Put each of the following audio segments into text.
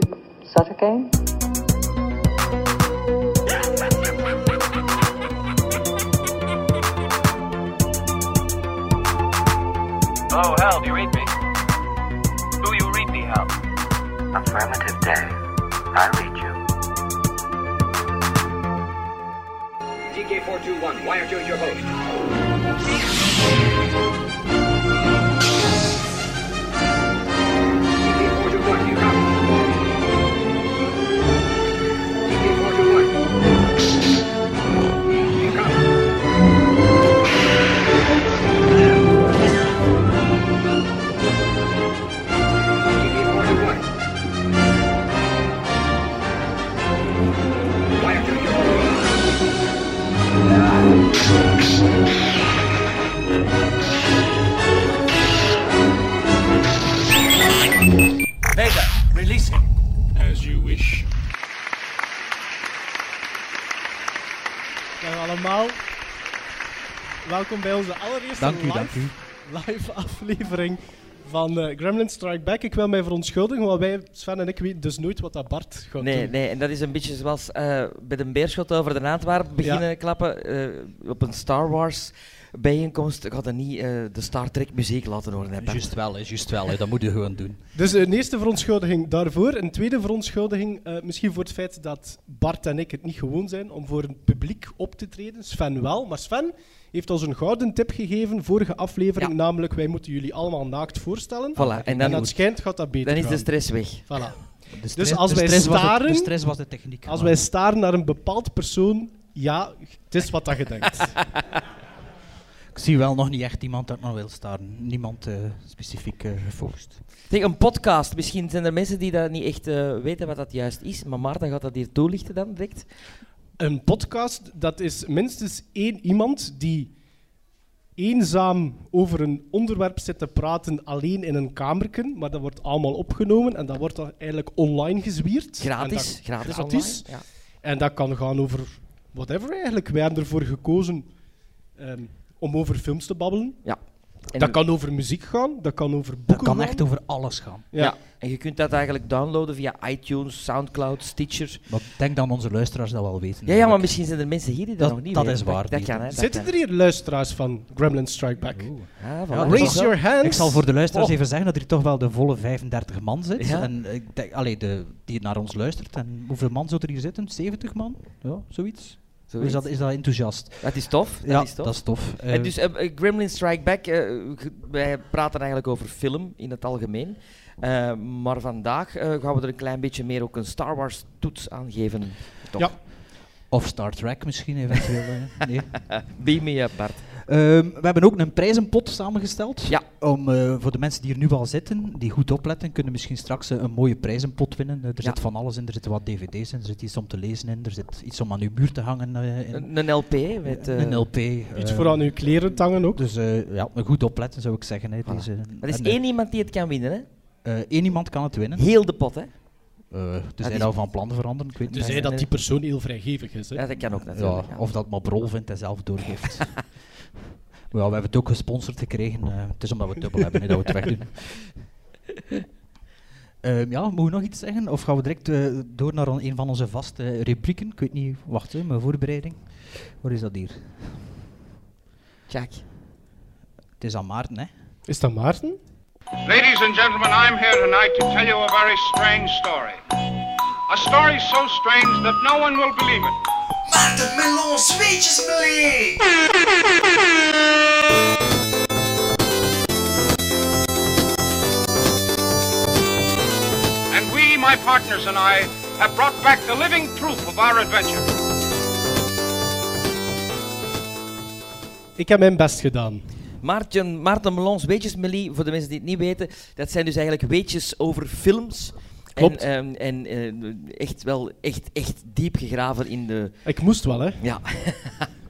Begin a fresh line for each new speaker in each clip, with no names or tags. that again?
Oh, Hal, do you read me? Do you read me, Hal?
Affirmative, Dave. I read you.
DK421, wire two is your host. DK421, you copy? DK421. You copy? DK421. Wire two is your host.
Vega, release him.
As you wish.
Dag allemaal. Welkom bij onze allereerste
Dank u,
live,
dank u.
live aflevering van eh Gremlin Strike Back. Ik wil mij verontschuldigen, want wij, Sven en ik, weten dus nooit wat dat Bart gaat
Nee,
doen.
nee, en dat is een beetje zoals eh bij de beerschot over de Antwerpen beginnen klappen. eh, op een Star Wars bijeenkomst gaat dan niet eh, de Star Trek muziek laten horen. Hè, Bert?
Juist wel, hè, juist wel. Hè. Dat moet je gewoon doen.
Dus een eerste verontschuldiging daarvoor. Een tweede verontschuldiging eh, misschien voor het feit dat Bart en ik het niet gewoon zijn om voor een publiek op te treden. Sven wel, maar Sven heeft ons een gouden tip gegeven vorige aflevering,
Ja.
namelijk wij moeten jullie allemaal naakt voorstellen.
Voilà, en
En
dan,
dat schijnt gaat dat beter
dan is de
gaan.
stress weg.
Voilà.
De stress-
als
de
wij
stress was de-
staren-
de stress was de techniek.
Als
maar-
wij staren naar een bepaald persoon, ja, het is wat dat je denkt.
Ik zie wel nog niet echt iemand dat nog wil staren. Niemand eh, specifiek eh, gefocust.
Zeg, een podcast. Misschien zijn er mensen die dat niet echt eh, weten wat dat juist is. Maar Maarten gaat dat hier toelichten dan direct.
Een podcast, dat is minstens één iemand die eenzaam over een onderwerp zit te praten, alleen in een kamerken. Maar dat wordt allemaal opgenomen en dat wordt dan eigenlijk online gezwierd.
Gratis.
En dat,
gratis
gratis.
online. Ja.
En dat kan gaan over whatever eigenlijk. Wij hebben ervoor gekozen ehm, om over films te babbelen.
En,
dat kan over muziek gaan, dat kan over boeken
Dat kan
gaan.
echt over alles gaan.
Ja.
ja. en je kunt dat eigenlijk downloaden via iTunes, Soundcloud, Stitcher.
Maar ik denk dat onze luisteraars dat wel weten.
Ja, ja, maar
eigenlijk.
misschien zijn er mensen hier die dat,
Dat-
nog niet
dat
weten.
is waar,
Dat
die-
kan, hè. dat
Zitten
kan.
er hier luisteraars van Gremlin Strike Back?
Ja, voilà.
Ja,
Dat is
Raise
wel-
your hands.
Ik zal voor de luisteraars
Oh.
even zeggen dat er toch wel de volle 35 man zit.
Ja.
En ik denk, allee, de, die naar ons luistert. En hoeveel man zou er hier zitten? 70 man? Ja, zoiets.
Zoiets.
Is, dat, is dat enthousiast?
Dat is tof. Dat
ja,
is tof.
dat is tof. Eh,
En dus eh, eh, Gremlin Strike Back, eh, ge- wij praten eigenlijk over film in het algemeen. Eh, maar vandaag eh, gaan we er een klein beetje meer ook een Star Wars toets aan geven. Toch?
Ja.
Of Star Trek misschien eventueel. eh, nee.
Beam me up, eh, Bart.
Ehm, we hebben ook een prijzenpot samengesteld.
Ja.
Om, eh, voor de mensen die er nu al zitten, die goed opletten, kunnen misschien straks eh, een mooie prijzenpot winnen. Eh, er
Ja.
zit van alles in, er zitten wat dvd's in, er zit iets om te lezen in, er zit iets om aan uw muur te hangen eh, in.
Een, een LP met... eh,
een LP.
Iets
eh,
voor aan uw kleren tangen ook.
Dus eh, ja, goed opletten zou ik zeggen. Hè,
Voilà.
deze,
Er is
en, eh,
één iemand die het kan winnen, hè?
eh, één iemand kan het winnen.
Heel de pot, hè?
Eh dus
is-
hij nou van plan veranderen, ik weet
Dus
niet.
hij dat die persoon heel vrijgevig is. Hè?
Ja, dat kan ook natuurlijk.
Ja, of dat maar brol vindt en zelf doorgeeft. Maar ja, we hebben het ook gesponsord gekregen. eh, het is omdat we het dubbel hebben, niet dat we het wegdoen. Ehm ja, moeten we nog iets zeggen? Of gaan we direct eh, door naar on- een van onze vaste eh, rubrieken? Ik weet niet, wacht, hè, mijn voorbereiding. Waar is dat hier?
Jack.
Het is aan Maarten, hè?
Is dat Maarten?
Ladies and gentlemen, I'm here tonight to tell you a very strange story. A story so strange that no one will believe it. And we, my partners and I, have brought back the living proof of our adventure.
Ik heb mijn best gedaan.
Maarten, Maarten Melons, weetjesmelie, voor de mensen die het niet weten, dat zijn dus eigenlijk weetjes over films.
Klopt.
En, ehm, en eh, echt wel echt, echt diep gegraven in de...
Ik moest wel, hè.
Ja,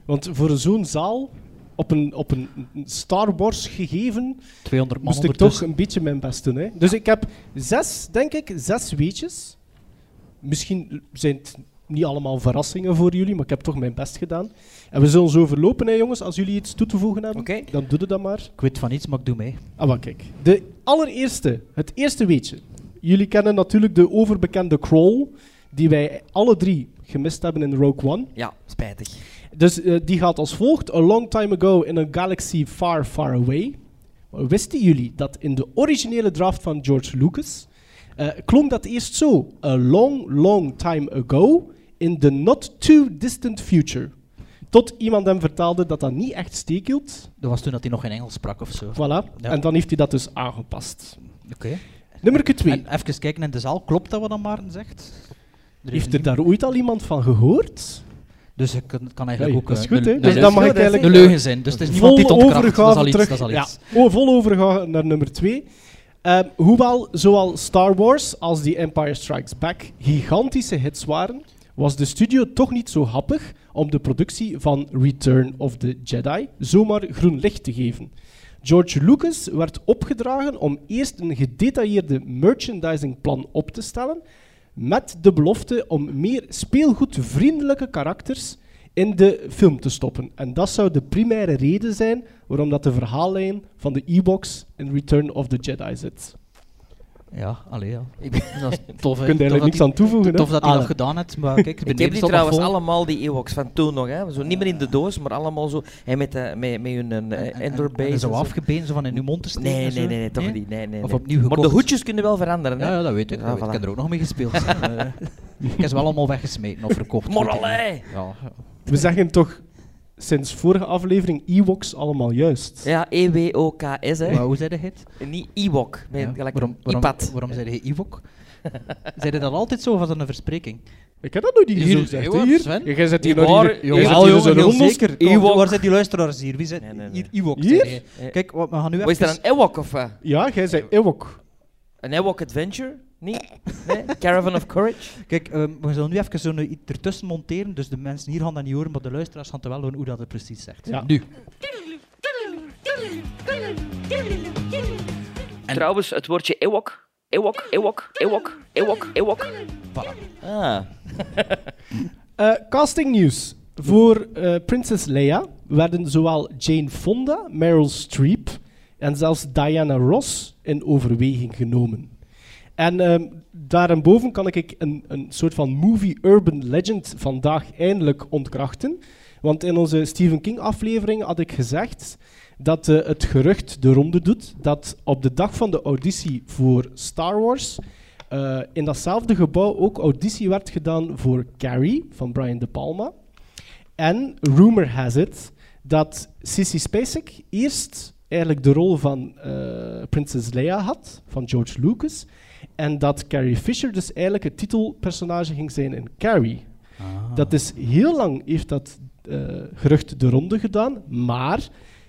Want voor zo'n zaal, op een, op een Star Wars gegeven,
200 man
moest ik toch
ondertussen.
een beetje mijn best doen. Hè? Dus ik heb zes, denk ik, zes weetjes. Misschien zijn het niet allemaal verrassingen voor jullie, maar ik heb toch mijn best gedaan. En we zullen zo verlopen, hè, jongens. Als jullie iets toe te voegen hebben,
Oké.
dan doe je dat maar.
Ik weet van iets, maar ik doe mee.
Ah, maar kijk. De allereerste, het eerste weetje. Jullie kennen natuurlijk de overbekende crawl, die wij alle drie gemist hebben in Rogue One.
Ja, spijtig.
Dus eh, die gaat als volgt. A long time ago in a galaxy far, far away. Maar Wisten jullie dat in de originele draft van George Lucas eh, klonk dat eerst zo? A long, long time ago in the not too distant future. Tot iemand hem vertelde dat dat niet echt steek hield.
Dat was toen dat hij nog in Engels sprak of zo.
Voilà.
Ja.
En dan heeft hij dat dus aangepast.
Oké.
Nummer 2.
En even kijken in de zaal, klopt dat wat dan Maarten zegt? Er is
Heeft er
niemand-
daar ooit al iemand van gehoord?
Dus het kan, kan eigenlijk
Hey,
ook
dat
eh,
is goed,
de-
hè?
de-
Dus
de-
dan mag
goed,
ik
dat is
eigenlijk
de leugen zijn. Dus het is niemand
vol
die het ontkracht.
overgave
Dat is al iets.
terug.
Dat is al iets.
Ja, oh, vol overgave naar nummer 2. hoewel zowel Star Wars als The Empire Strikes Back gigantische hits waren, was de studio toch niet zo happig om de productie van Return of the Jedi zomaar groen licht te geven. George Lucas werd opgedragen om eerst een gedetailleerde merchandisingplan op te stellen met de belofte om meer speelgoedvriendelijke karakters in de film te stoppen. En dat zou de primaire reden zijn waarom dat de verhaallijn van de e-box in Return of the Jedi zit.
Ja, allee, ja.
Ik ben-
Dat is tof,
Je kunt eigenlijk niks aan toevoegen. hè?
Tof dat hij
Ah,
dat gedaan heeft, maar kijk,
Ik heb die trouwens allemaal, die Ewoks van toen nog, hè. Zo, niet meer in de doos, maar allemaal zo. En met, eh, met, met hun eh, Endor base. en
zo
zo.
afgebeen, zo van in uw mond te steken.
Nee,
en zo.
nee, nee, nee, toch niet. Nee, nee,
Of
nee.
opnieuw
Maar de
gekocht.
hoedjes kunnen wel veranderen, hè.
Ja, ja, dat weet ik.
Ja,
dat weet ik.
voilà.
Ik heb er ook nog mee gespeeld. hè. Eh, ik heb ze wel allemaal weggesmeten of verkocht.
Maar
weet ik niet.
allee!
Ja,
We zeggen toch sinds vorige aflevering Ewoks allemaal juist.
Ja, E E-W-O-K-S, hè.
Maar hoe zei de het?
Niet Ewok, ben
Ja,
gelijk
Waarom, waarom,
Ipad.
waarom zei je Ivok? zei je dat altijd zo of was dat een verspreking?
Ik heb dat nooit niet
Hier,
zo gezegd.
Ewoks,
hè, Hier,
Sven?
Jij zet hier
Die
nog
waren-
hier- jij
jongen,
zet
al
hier
jongen,
zo'n
heel
rondels-
zeker.
Kom,
Ewok.
Waar zijn die luisteraars hier? Wie zijn
Nee, nee,
hier Ewok?
Hier?
zei hij. Kijk, wat, we gaan nu
Wat is
even...
dat, een Ewok of wat?
Ja, jij zei Ewok.
Een Ewok Adventure? Nee? nee? Caravan of Courage?
Kijk, ehm, we zullen nu even zo'n iets ertussen monteren, dus de mensen hier gaan dat niet horen, maar de luisteraars gaan het wel horen hoe dat het precies zegt.
Ja.
Nu.
Trouwens, het woordje ewok, ewok, ewok, ewok, ewok, ewok.
Ah.
Eh, casting nieuws. Voor eh Prinses Leia werden zowel Jane Fonda, Meryl Streep en zelfs Diana Ross in overweging genomen. En ehm daarboven kan ik een, een soort van movie urban legend vandaag eindelijk ontkrachten. Want in onze Stephen King aflevering had ik gezegd dat eh, het gerucht de ronde doet dat op de dag van de auditie voor Star Wars eh, in datzelfde gebouw ook auditie werd gedaan voor Carrie van Brian De Palma. En rumor has it dat Sissy Spacek eerst eigenlijk de rol van eh Prinses Leia had, van George Lucas. En dat Carrie Fisher dus eigenlijk het titelpersonage ging zijn in Carrie. Dat is heel lang heeft dat eh, gerucht de ronde gedaan, maar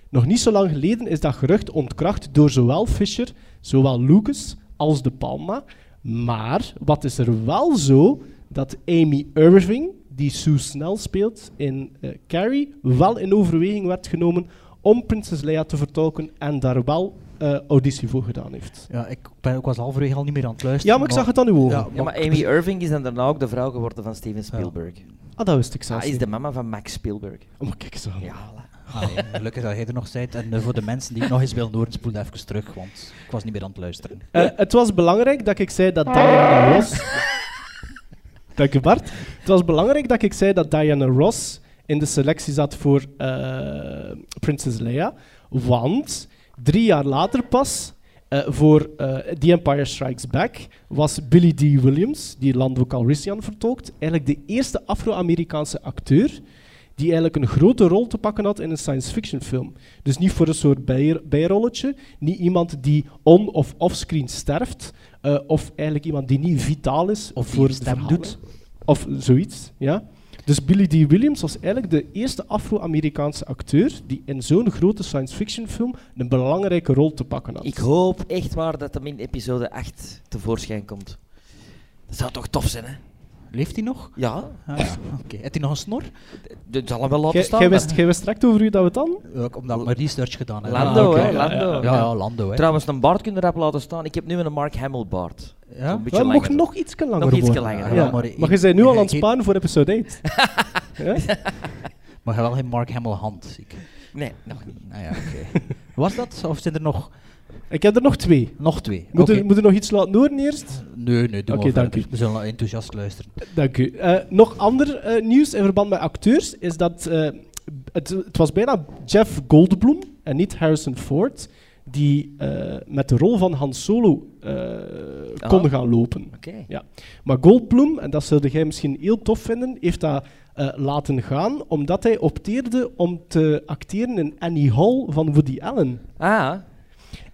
nog niet zo lang geleden is dat gerucht ontkracht door zowel Fisher, zowel Lucas als De Palma. Maar wat is er wel zo dat Amy Irving, die Sue Snell speelt in eh, Carrie, wel in overweging werd genomen om Prinses Leia te vertolken en daar wel eh, auditie voor gedaan heeft.
Ja, ik, ben, ik was halverwege al niet meer aan het luisteren.
Ja, maar ik zag het aan uw ogen.
Ja,
Ja, maar Amy Irving is dan daarna ook de vrouw geworden van Steven Spielberg.
Ah, dat wist ik
Zij
zelfs
is
niet.
de mama van Max Spielberg.
Oh, maar kijk eens aan.
Ja, voilà.
Ah, ja, gelukkig dat jij er nog bent. En eh, voor de mensen die het nog eens willen horen, spoel dat even terug, want ik was niet meer aan het luisteren.
Eh, het was belangrijk dat ik zei dat Diana Ross. Dank je, Bart. Het was belangrijk dat ik zei dat Diana Ross in de selectie zat voor eh Princess Leia. Want drie jaar later pas, eh, voor eh, The Empire Strikes Back, was Billy D. Williams, die Lando Calrissian vertolkt, eigenlijk de eerste Afro-Amerikaanse acteur die eigenlijk een grote rol te pakken had in een science fiction film. Dus niet voor een soort bij- bijrolletje, niet iemand die on- of offscreen sterft, eh, of eigenlijk iemand die niet vitaal is
Of die
voor
een
de
stem
verhalen.
doet.
Of zoiets, ja. Dus Billy D. Williams was eigenlijk de eerste Afro-Amerikaanse acteur die in zo'n grote science fiction film een belangrijke rol te pakken had.
Ik hoop echt waar dat hem in episode 8 tevoorschijn komt. Dat zou toch tof zijn, hè?
Leeft hij nog?
Ja,
Ah, ja. Oké. Heeft hij nog een snor?
dat zal hem wel laten
Jij-
staan.
Jij
hè.
wist, jij wist direct over wie dat we het dan?
Eh, ik- omdat ik mijn research gedaan heb.
Lando,
Ah, oké.
hè,
Ja,
Lando.
Ja, ja, ja, Lando, hè.
Trouwens, een baard kunnen rap laten staan. Ik heb nu een Mark Hamill baard.
Ja?
Zo'n beetje
Dat mocht
langer.
nog iets langer
Nog ietske
worden.
langer,
Ja.
ja, maar
Maar,
ik-
je bent nu al aan het
ik-
sparen voor episode 8. ja?
Maar je hebt wel geen Mark Hamill hand, zie ik.
Nee, nog niet.
Nou ja, oké. Was dat? Of zijn er nog
Ik heb er nog twee.
Nog twee.
Moet,
Oké.
u, moet u nog iets laten horen eerst?
Nee, nee, doe
Oké,
maar
dank
verder.
u.
We zullen enthousiast luisteren.
Dank u. Eh, nog ander eh, nieuws in verband met acteurs is dat eh, het, het was bijna Jeff Goldblum en niet Harrison Ford die eh, met de rol van Han Solo eh kon
Ah.
gaan lopen.
Oké.
Ja. Maar Goldblum, en dat zulde jij misschien heel tof vinden, heeft dat eh, laten gaan omdat hij opteerde om te acteren in Annie Hall van Woody Allen.
Ah,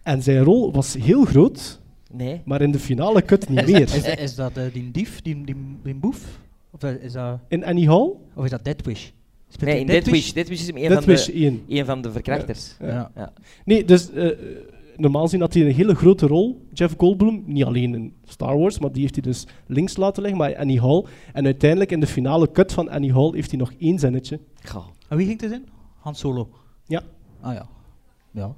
En zijn rol was heel groot,
nee.
maar in de finale kut niet
Is,
meer.
is dat eh, die dief, die, die, die boef? Of eh, is dat,
In Annie Hall?
of is dat Deadwish? Speelt
Nee,
hij
in
Deathwish?
Deadwish. Deadwish is hem een,
Dat
van
was
de,
één.
een van de verkrachters.
Ja.
Ja.
Nee, dus eh, eh, normaal gezien had hij een hele grote rol, Jeff Goldblum. Niet alleen in Star Wars, maar die heeft hij dus links laten liggen, maar Annie Hall. En uiteindelijk in de finale cut van Annie Hall heeft hij nog één zinnetje.
Goh.
En wie ging het in? Han Solo.
Ja.
Ah ja. Ja.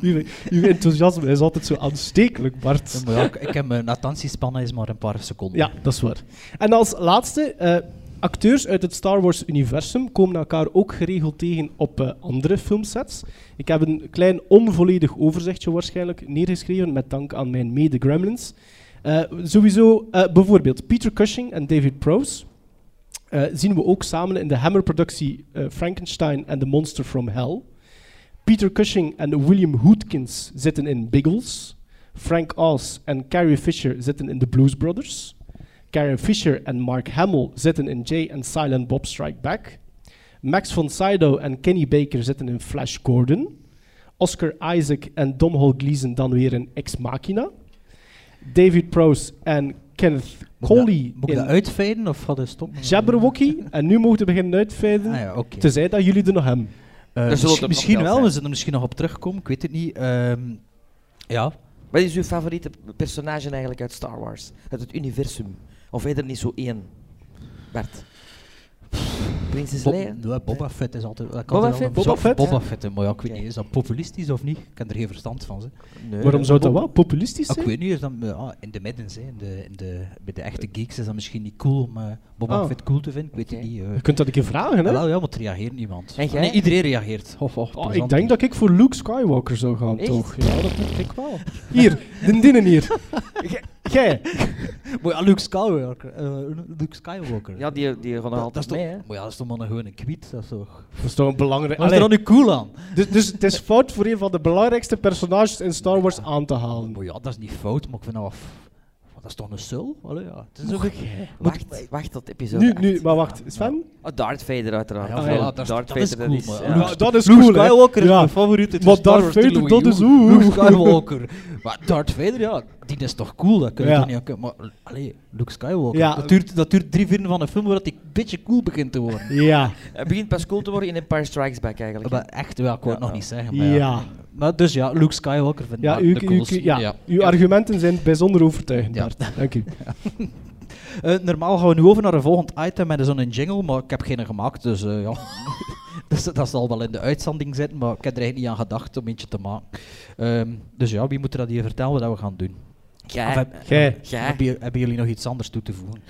uw, uw enthousiasme is altijd zo aanstekelijk, Bart.
Ja, maar ja, ik, ik heb mijn attentiespannen is maar een paar seconden.
Ja, dat is waar. En als laatste, eh, acteurs uit het Star Wars-universum komen elkaar ook geregeld tegen op eh, andere filmsets. Ik heb een klein onvolledig overzichtje waarschijnlijk neergeschreven, met dank aan mijn mede-gremlins. Eh, sowieso, eh, bijvoorbeeld Peter Cushing en David Prowse eh, zien we ook samen in de Hammer-productie eh, Frankenstein and the Monster from Hell. Peter Cushing en William Hootkins zitten in Biggles. Frank Oz en Carrie Fisher zitten in The Blues Brothers. Carrie Fisher en Mark Hamill zitten in Jay and Silent Bob Strike Back. Max von Sydow en Kenny Baker zitten in Flash Gordon. Oscar Isaac en Domhnall Gleeson dan weer in Ex Machina. David Prowse en Kenneth
Moet ik dat-
Coley
Moet ik dat
in
uitvijden of gaat het stoppen?
Jabberwocky. En nu mogen we beginnen uitvijden,
Ah ja, oké.
tenzij dat jullie er nog hebben.
Eh,
Er
misschien
zullen er nog
misschien
wel
wel,
zijn.
we zullen er misschien nog op terugkomen, ik weet het niet. Ehm, ja,
Wat is uw favoriete personage eigenlijk uit Star Wars? Uit het universum? Of weet er niet zo één? Bart. Prinses
Bob-
Leia?
ja, Boba Fett is altijd... dat kan
Boba
er wel
Fett?
een
Boba
bezorgd-
Fett,
Boba
ja.
Fett, hè, maar ja, ik weet
Oké.
niet, is dat populistisch of niet? Ik heb er geen verstand van. Ze. Eh,
Nee.
Waarom zou dat
Bob-
wel populistisch
Ah, ik
zijn?
weet niet, is dat, ja, in de midden, hè, in de, in de, bij de echte geeks is dat misschien niet cool om eh, Boba
Ah.
Fett cool te vinden, ik weet het
Oké.
niet. eh.
Je kunt dat een keer vragen, hè?
Wel, ja, maar het reageert niemand.
En
Ah,
jij?
nee, iedereen reageert. Oh, Of, of,
Ah, ik
plezant.
denk dat ik voor Luke Skywalker zou gaan,
Echt?
toch? Ja, dat denk ik wel. Hier, de dinnen hier. G- Jij.
Maar ja, Luke Skywalker. eh, Luke Skywalker.
Ja, die, die gaan
dat,
er
dat is
altijd
toch,
mee, hè?
Maar ja, dat is toch maar een gewone kwiet, dat is toch...
Dat is toch een belangrijk...
Wat is er
Allee,
dan nu cool aan?
dus, dus het is fout voor een van de belangrijkste personages in Star Wars aan te halen.
Maar ja, dat is niet fout, maar ik vind dat wel f- Wat, dat is toch een sul? Allee, ja. Het is ook...
Wacht, wacht tot episode
Nu,
8.
nu, maar wacht. Sven?
Oh, Darth Vader uiteraard.
Ja,
voilà,
dat is- dat is cool, maar
ja.
Luke
Ja, Ah, dat is
Luke
cool, hè?
Skywalker is
Ja.
mijn favoriet uit de
Maar
Star
Darth
Wars
Vader,
trilogie.
dat is
Oeh,
oeh.
Luke Skywalker. maar Darth Vader, ja, die is toch cool, dat kun je
Ja.
toch niet aan kunnen- Maar allee, Luke Skywalker,
Ja.
dat, duurt, dat duurt drie vierde van een film voordat hij een beetje cool begint te worden.
Ja.
Hij begint pas cool te worden in Empire Strikes Back eigenlijk.
Maar echt, ja, ik wou het
Ja.
nog niet zeggen. Maar ja.
Ja.
Maar dus ja, Luke Skywalker vind ik
Ja,
maar
uw,
de
uw,
coolste.
ja,
Ja.
uw argumenten zijn bijzonder overtuigend,
Ja.
Bart. Dank u.
Eh, normaal gaan we nu over naar een volgend item met zo'n jingle, maar ik heb geen gemaakt, dus eh, ja. dus, dat zal wel in de uitzending zitten, maar ik heb er eigenlijk niet aan gedacht om eentje te maken. Ehm, dus ja, wie moet er dat hier vertellen wat dat we gaan doen? Of
Gij,
heb-
Jij.
gij.
hebben, ju- hebben jullie nog iets anders toe te voegen?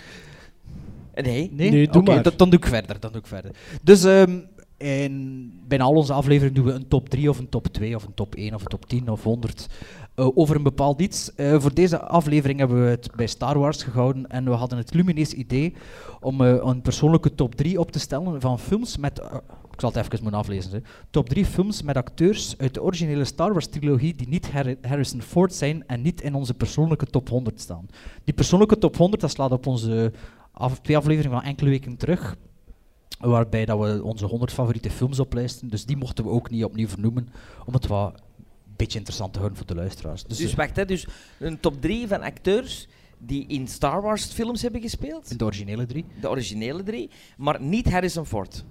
Nee.
Nee, doe
Oké,
maar.
dat- Dan doe ik verder, dan doe ik verder. Dus ehm in bijna al onze afleveringen doen we een top 3 of een top 2 of een top 1 of een top 10 of 100 eh, over een bepaald iets. Eh, voor deze aflevering hebben we het bij Star Wars gehouden en we hadden het lumineus idee om eh, een persoonlijke top 3 op te stellen van films met... eh, ik zal het even moeten aflezen. Hè. Top 3 films met acteurs uit de originele Star Wars trilogie die niet Harri- Harrison Ford zijn en niet in onze persoonlijke top 100 staan. Die persoonlijke top 100 dat slaat op onze af, twee afleveringen van enkele weken terug. Waarbij dat we onze 100 favoriete films oplijsten. Dus die mochten we ook niet opnieuw vernoemen. Om het wat een beetje interessant te houden voor de luisteraars. Dus,
Dus,
eh,
wacht, hè. Dus een top 3 van acteurs die in Star Wars films hebben gespeeld.
de originele drie.
De originele drie. Maar niet Harrison Ford.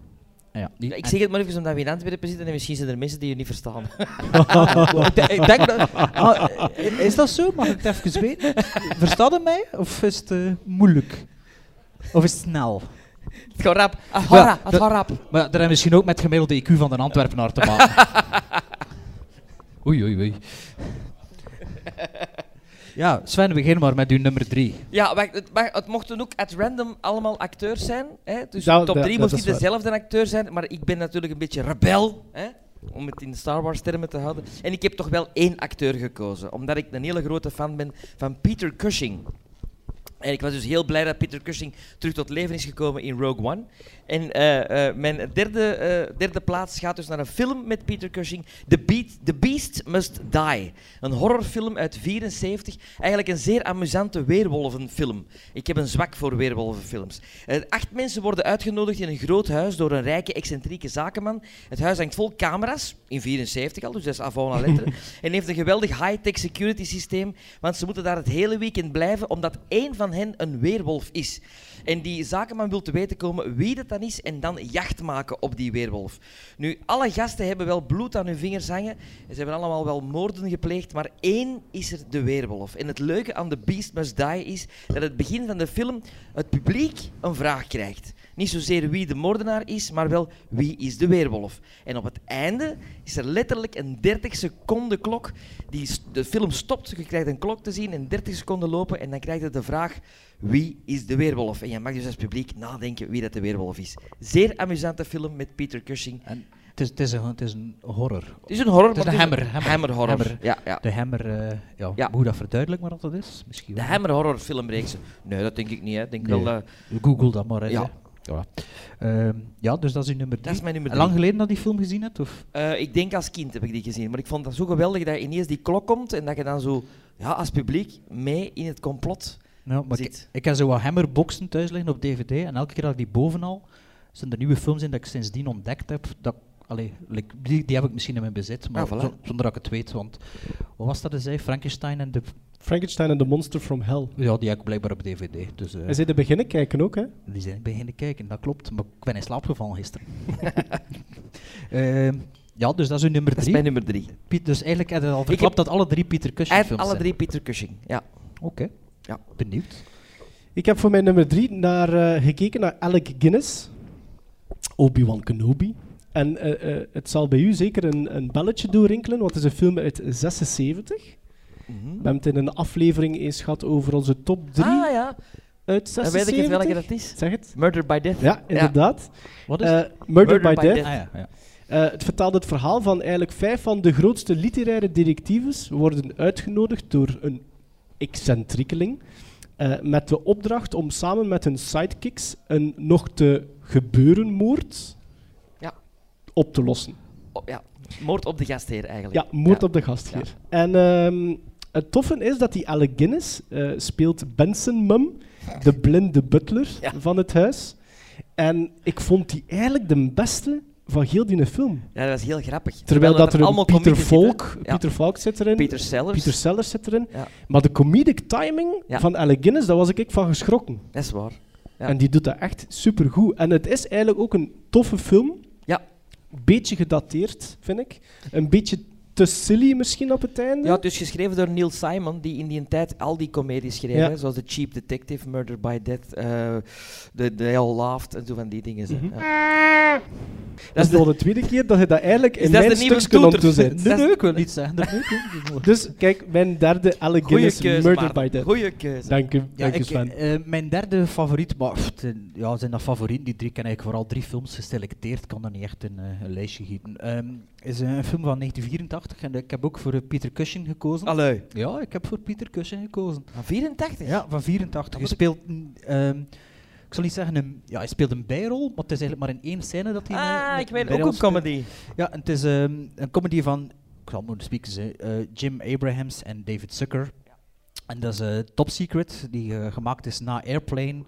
Ja, die-
Ik
en-
zeg het maar even omdat we in Antwerpen zitten en misschien zijn er mensen die je niet verstaan. ik denk- ik denk dat...
Ah, eh, is dat zo? Mag ik het even weten? Verstaat het mij? Of is het eh, moeilijk? Of is het snel?
Het gaat rap. Ah, ga
Ja,
rap, het
dat-
gaat rap.
Maar daar hebben misschien ook met gemiddelde IQ van de Antwerpenaar te maken. oei, oei, oei. Ja, Sven, begin maar met uw nummer drie.
Ja, wacht, het, mag, het mochten ook at random allemaal acteurs zijn. Hè? Dus
Dat-
top
dat-
3
dat
moest niet
is waar.
dezelfde acteur zijn, maar ik ben natuurlijk een beetje rebel. Hè? Om het in Star Wars termen te houden. En ik heb toch wel één acteur gekozen, omdat ik een hele grote fan ben van Peter Cushing. En ik was dus heel blij dat Peter Cushing terug tot leven is gekomen in Rogue One. En eh, eh, mijn derde, eh, derde plaats gaat dus naar een film met Peter Cushing. The, Beat, The Beast Must Die. Een horrorfilm uit 74. Eigenlijk een zeer amusante weerwolvenfilm. Ik heb een zwak voor weerwolvenfilms. Eh, acht mensen worden uitgenodigd in een groot huis door een rijke, excentrieke zakenman. Het huis hangt vol camera's, in 74 al, dus dat is avant la lettre. en heeft een geweldig high-tech security systeem, want ze moeten daar het hele weekend blijven, omdat één van hen een weerwolf is. En die zakenman wil te weten komen wie dat dan is en dan jacht maken op die weerwolf. Nu, alle gasten hebben wel bloed aan hun vingers hangen. en Ze hebben allemaal wel moorden gepleegd, maar één is er de weerwolf. En het leuke aan The Beast Must Die is dat het begin van de film het publiek een vraag krijgt. Niet zozeer wie de moordenaar is, maar wel wie is de weerwolf. En op het einde is er letterlijk een 30 seconden klok. Die s- de film stopt, je krijgt een klok te zien en 30 seconden lopen en dan krijg je de vraag wie is de weerwolf. En je mag dus als publiek nadenken wie dat de weerwolf is. Zeer amusante film met Peter Cushing.
En het, is, het, is een, het is een horror.
Het is een horror.
Het is
maar
een
het is
hammer.
een
hammer,
hammerhorror.
hammer.
Ja, ja.
De hammer, eh, ja.
Ja.
Moet je dat verduidelijken maar wat dat is? Misschien
De
wel.
hammer horror filmreeks. Nee, dat denk ik niet. Hè. Ik Denk
Nee.
wel, eh, dat-
Google dat maar eens.
Ja.
hè. Ja. Ehm, ja, dus dat is uw nummer drie.
Dat is mijn nummer
Lang
drie.
geleden dat je die film gezien hebt? Of?
Eh, ik denk als kind heb ik die gezien, maar ik vond dat zo geweldig dat ineens die klok komt en dat je dan zo ja, als publiek mee in het complot.
Ja, maar ik,
Zit.
ik heb zo wat hammerboxen thuis liggen op DVD en elke keer dat ik die bovenal, zijn er nieuwe films in dat ik sindsdien ontdekt heb. Dat, ik- allee, like, die, die heb ik misschien in mijn bezit, maar
Ah, voilà.
zo- zonder dat ik het weet. Want wat was dat? Zei? Frankenstein en de.
Frankenstein and the Monster from Hell.
Ja, die heb ik blijkbaar op DVD. Dus, eh,
Hij zei de beginnen kijken ook, hè?
Die zijn ik beginnen kijken, dat klopt. Maar ik ben in slaap gevallen gisteren. Ehm, ja, dus dat is uw nummer
Dat
drie.
is mijn nummer drie.
Piet, dus eigenlijk heb je al
heb-
verklapt dat alle drie Pieter Cushing
En
films
alle
zijn.
drie Peter Cushing. Ja.
Oké,
Ja.
benieuwd.
Ik heb voor mijn nummer drie naar, eh, gekeken naar Alec Guinness, Obi-Wan Kenobi. En eh, eh, het zal bij u zeker een, een belletje doorrinkelen, want het is een film uit 76. We hebben het in een aflevering eens gehad over onze top 3
Ah ja,
uit
dan
76.
weet ik het welke dat is.
Zeg het.
Murder by Death.
Ja, inderdaad.
Wat
Eh,
het?
Murder, by, Death.
Ah, ja, ja.
Eh, het vertaalde het verhaal van eigenlijk vijf van de grootste literaire detectives worden uitgenodigd door een excentriekeling eh, met de opdracht om samen met hun sidekicks een nog te gebeuren moord
Ja.
op te lossen.
Oh, ja. Moord op de gastheer eigenlijk.
Ja, moord
Ja.
op de gastheer. En ehm, het toffe is dat die Alec Guinness eh, speelt Benson Mum, de blinde butler
Ja.
van het huis. En ik vond die eigenlijk de beste van heel die film.
Ja, dat was heel grappig.
Terwijl dat er een Pieter
komieken zitten.
Volk,
Ja.
Pieter Volk zit erin,
Peter Sellers.
Peter Sellers zit erin.
Ja.
Maar de comedic timing
Ja.
van Alec Guinness, daar was ik ik van geschrokken.
Dat is waar. Ja.
En die doet dat echt supergoed. En het is eigenlijk ook een toffe film.
Ja.
Beetje gedateerd, vind ik. Een beetje te silly misschien op het einde.
Ja, het is geschreven door Neil Simon, die in die tijd al die comedies schreef,
Ja.
hè, zoals The Cheap Detective, Murder by Death, eh The They All Laughed en zo van die dingen. hè.
Mhm.
Ja.
dat is al de tweede keer dat je dat eigenlijk
Is
in
dat
mijn
de nieuwe
stukje om
toeter?
te zit.
Dat is-
ik wil niet zeggen. dat leuk, hè.
Dus kijk, mijn derde Alec
Goeie
Guinness
keuze,
Murder
Maarten.
by Death.
Goeie keuze.
Dank u,
Ja,
dank u
ik,
Sven.
eh, mijn derde favoriet, maar pff, het zijn- ja, zijn dat favorieten? Die drie ik ken eigenlijk vooral drie films geselecteerd. Ik kan er niet echt een, eh, een lijstje gieten. Ehm, is een film van 1984 en ik heb ook voor eh, Peter Cushing gekozen.
Allee.
Ja, ik heb voor Peter Cushing gekozen.
Van 84?
Ja, van 84. Hij speelt, een, ehm, ik zal niet zeggen, een, ja, hij speelt een bijrol, maar het is eigenlijk maar in één scène dat hij. eh,
Ah, ik weet ook
bijrol
een
speelt.
comedy.
Ja, en het is ehm, een comedy van, ik zal het moeten spieken, ze, eh, Jim Abrahams en David Zucker. En dat is eh, Top Secret, die eh, gemaakt is na Airplane.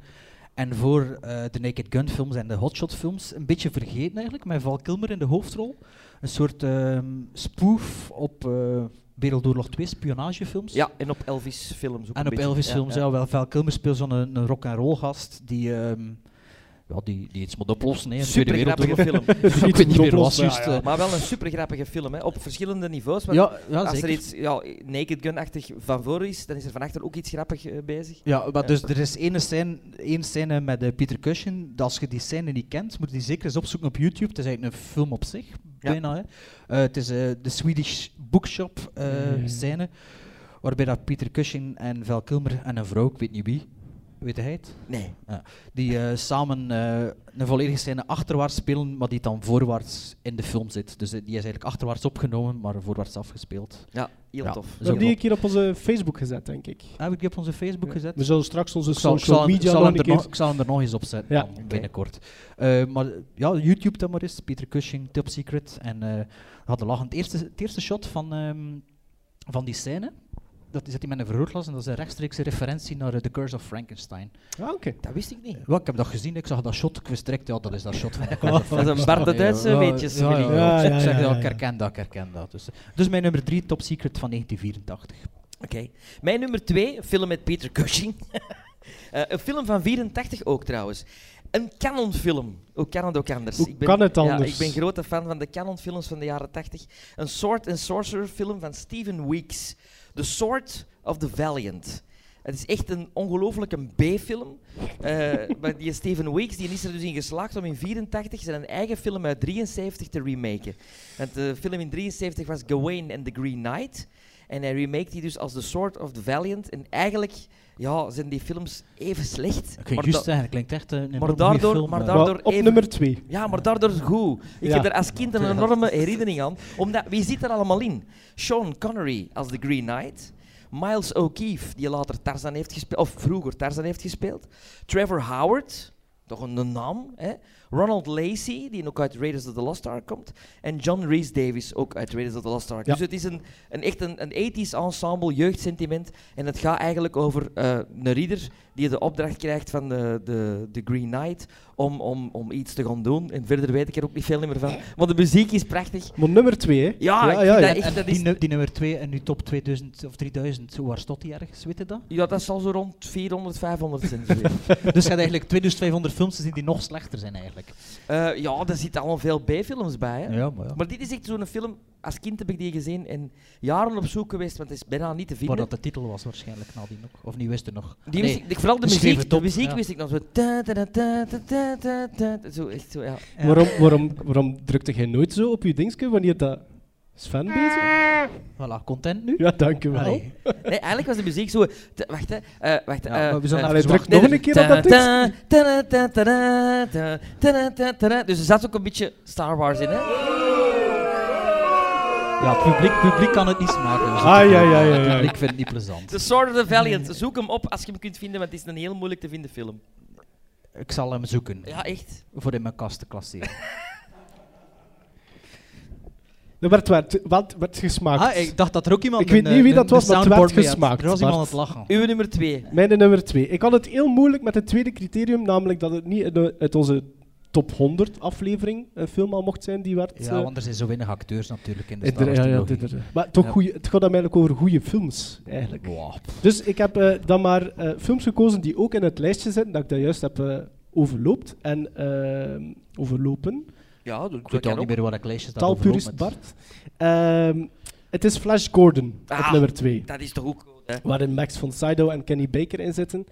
En voor eh, de Naked Gun films en de Hot Shot films een beetje vergeten eigenlijk, met Val Kilmer in de hoofdrol. Een soort ehm, spoof op eh, Wereldoorlog 2 spionagefilms.
Ja, en op Elvis films ook
En
een
op
beetje.
Elvis
Ja,
films,
ja.
ja, wel. Val Kilmer speelt zo'n een, een rock and roll gast die, ehm, ja, die, die iets moet oplossen. hè, in de Tweede
Super grappige
Wereldoorlog.
film.
Ik weet niet meer wat,
Oplossen, ja,
juist,
ja.
eh.
Maar wel een super grappige film, hè. op verschillende niveaus. Want
Ja, ja,
als
zeker.
er iets ja, Naked Gun-achtig van voor is, dan is er van achter ook iets grappig eh, bezig.
Ja, maar dus er is één scène, één scène met eh, Peter Cushing. Dat als je die scène niet kent, moet je die zeker eens opzoeken op YouTube. Het is eigenlijk een film op zich, bijna. Hè. Eh, het is eh, de Swedish Bookshop eh, scène, waarbij dat Peter Cushing en Val Kilmer en een vrouw, ik weet niet wie, weet hij het?
Nee.
Ja. Die eh, samen eh, een volledige scène achterwaarts spelen, maar die dan voorwaarts in de film zit. Dus eh, die is eigenlijk achterwaarts opgenomen, maar voorwaarts afgespeeld.
Ja, heel
Ja.
tof.
Zo
We hebben die
klopt.
een keer op onze Facebook gezet, denk ik.
Heb ik die op onze Facebook gezet?
We zullen straks onze
Ik zal, ik
social
zal hem-
media
ik zal
nog
hem
een
er
keer...
nog, ik zal hem er nog eens op zetten
Ja.
dan
Oké.
binnenkort. Eh, maar ja, YouTube dan maar eens. Peter Cushing, Top Secret. En eh, we hadden lachen. Het eerste, het eerste shot van, ehm, van die scène, dat zit hij met een vergrootglas en dat is een rechtstreekse referentie naar eh, The Curse of Frankenstein.
Ah, oké.
Dat wist ik niet.
Wel, ik heb dat gezien, ik zag dat shot, ik wist direct, ja, dat is dat shot van The Curse of
Dat is een Bart de Duitse
Ja,
weetjes.
Ja, ja,
Willy.
ja.
Ja, ja,
Ik
ja,
zeg dat,
ja,
ik
ja.
herken dat, ik herken dat. Dus, dus mijn nummer 3, Top Secret van 1984.
Oké. Mijn nummer twee, een film met Peter Cushing. Eh, een film van 84 ook trouwens. Een Canon-film. Hoe kan het ook anders?
Hoe kan het anders?
Ja, ik ben grote fan van de Canon-films van de jaren 80. Een Sword and Sorcerer-film van Steven Weeks. The Sword of the Valiant. Het is echt een ongelooflijke B-film. Eh, maar die Steven Weeks die is er dus in geslaagd om in 84 zijn eigen film uit 73 te remaken. Want de film in 73 was Gawain and the Green Knight. En hij remaked die dus als The Sword of the Valiant. En eigenlijk ja, zijn die films even slecht.
Oké,
maar
juist
da-
eigenlijk, klinkt echt eh, een
maar
enorm goeie
daardoor-
film.
maar
eh.
daardoor
Maar op
even-
nummer 2.
ja, maar daardoor is het goed. Ik
Ja.
heb er als kind een enorme herinnering aan. Omdat, wie zit er allemaal in? Sean Connery als The Green Knight. Miles O'Keefe, die later Tarzan heeft gespeeld, of vroeger Tarzan heeft gespeeld. Trevor Howard, toch een een naam. Hè? Ronald Lacey, die ook uit Raiders of the Lost Ark komt. En John Rhys Davis, ook uit Raiders of the Lost Ark.
Ja.
Dus het is een, een echt een, een 80s ensemble, jeugdsentiment. En het gaat eigenlijk over eh, een reader die de opdracht krijgt van de, de, de Green Knight om, om, om iets te gaan doen. En verder weet ik er ook niet veel meer van. Want de muziek is prachtig.
Maar nummer 2, hè?
Ja, ik vind
ja,
dat
ja.
echt-
En
dat
die,
is-
nu- die nummer 2 en nu top 2000 of 3000, waar stond die ergens? Weet je dat?
Ja, dat zal zo rond 400, 500 cent zijn.
dus je hebt eigenlijk 2500 films gezien die nog slechter zijn eigenlijk.
Eh, ja, daar zitten allemaal veel B-films bij. Hè?
maar
Maar dit is echt zo'n film, als kind heb ik die gezien en jaren op zoek geweest, want het is bijna niet te
Waar
vinden.
dat de titel was waarschijnlijk nadien nog. Of niet wist je nog.
Die
Nee.
wist ik, vooral de
schreef
muziek,
het
de
op,
muziek
ja.
wist ik nog zo. Ta, ta, ta, ta, ta, ta, ta, ta, zo, echt zo, ja.
Ja.
Waarom, waarom, waarom drukte jij nooit zo op je dingetje wanneer dat Sven bezig
Voilà, content nu.
Ja, dank u wel.
Allee.
Nee, eigenlijk was de muziek zo... te- wacht, hè. eh, wacht,
Ja,
eh,
maar we zullen
eh,
Allee,
even
druk
wachten.
nog een keer op dat ding.
ta, ta, ta, ta, ta, ta, ta, ta, ta, ta. Dus er zat ook een beetje Star Wars in, hè.
Ja, het publiek, publiek kan het niet smaken. Dus
Ah,
het-
ja, ja, ja,
Het
ja.
publiek vindt het niet plezant.
The Sword of the Valiant. Zoek hem op als je hem kunt vinden, want het is een heel moeilijk te vinden film.
Ik zal hem zoeken.
Ja, echt.
Voor in mijn kast te klasseren.
Er werd, werd, werd, werd gesmaakt.
Ah, ik dacht dat er ook iemand
Ik weet
een,
niet wie
eh,
dat
een
was, maar het werd
soundboard mee had.
gesmaakt,
Er was iemand aan
Bart.
het lachen.
Uw nummer twee.
Mijn nummer 2. Ik had het heel moeilijk met het tweede criterium, namelijk dat het niet uit de- uit onze top 100 aflevering een film al mocht zijn die werd...
Ja,
eh,
want er zijn zo weinig acteurs natuurlijk in de
in de-
Star Wars
ja, ja,
trilogie.
dit- dit- maar toch
Ja.
goeie, het gaat dan eigenlijk over goede films, eigenlijk.
Wow, pff.
Dus ik heb eh, dan maar eh, films gekozen die ook in het lijstje zitten, dat ik dat juist heb eh, overloopt en eh, overlopen.
Ja, dat, dat
Ik weet
kan
al niet
ook.
meer waar ik lijstjes dat
Taalpurist
overloop met-
Bart. Ehm, het is Flash Gordon
Ah.
op nummer 2,
Dat is toch ook goed, hè?
waarin Max von Sydow en Kenny Baker in zitten.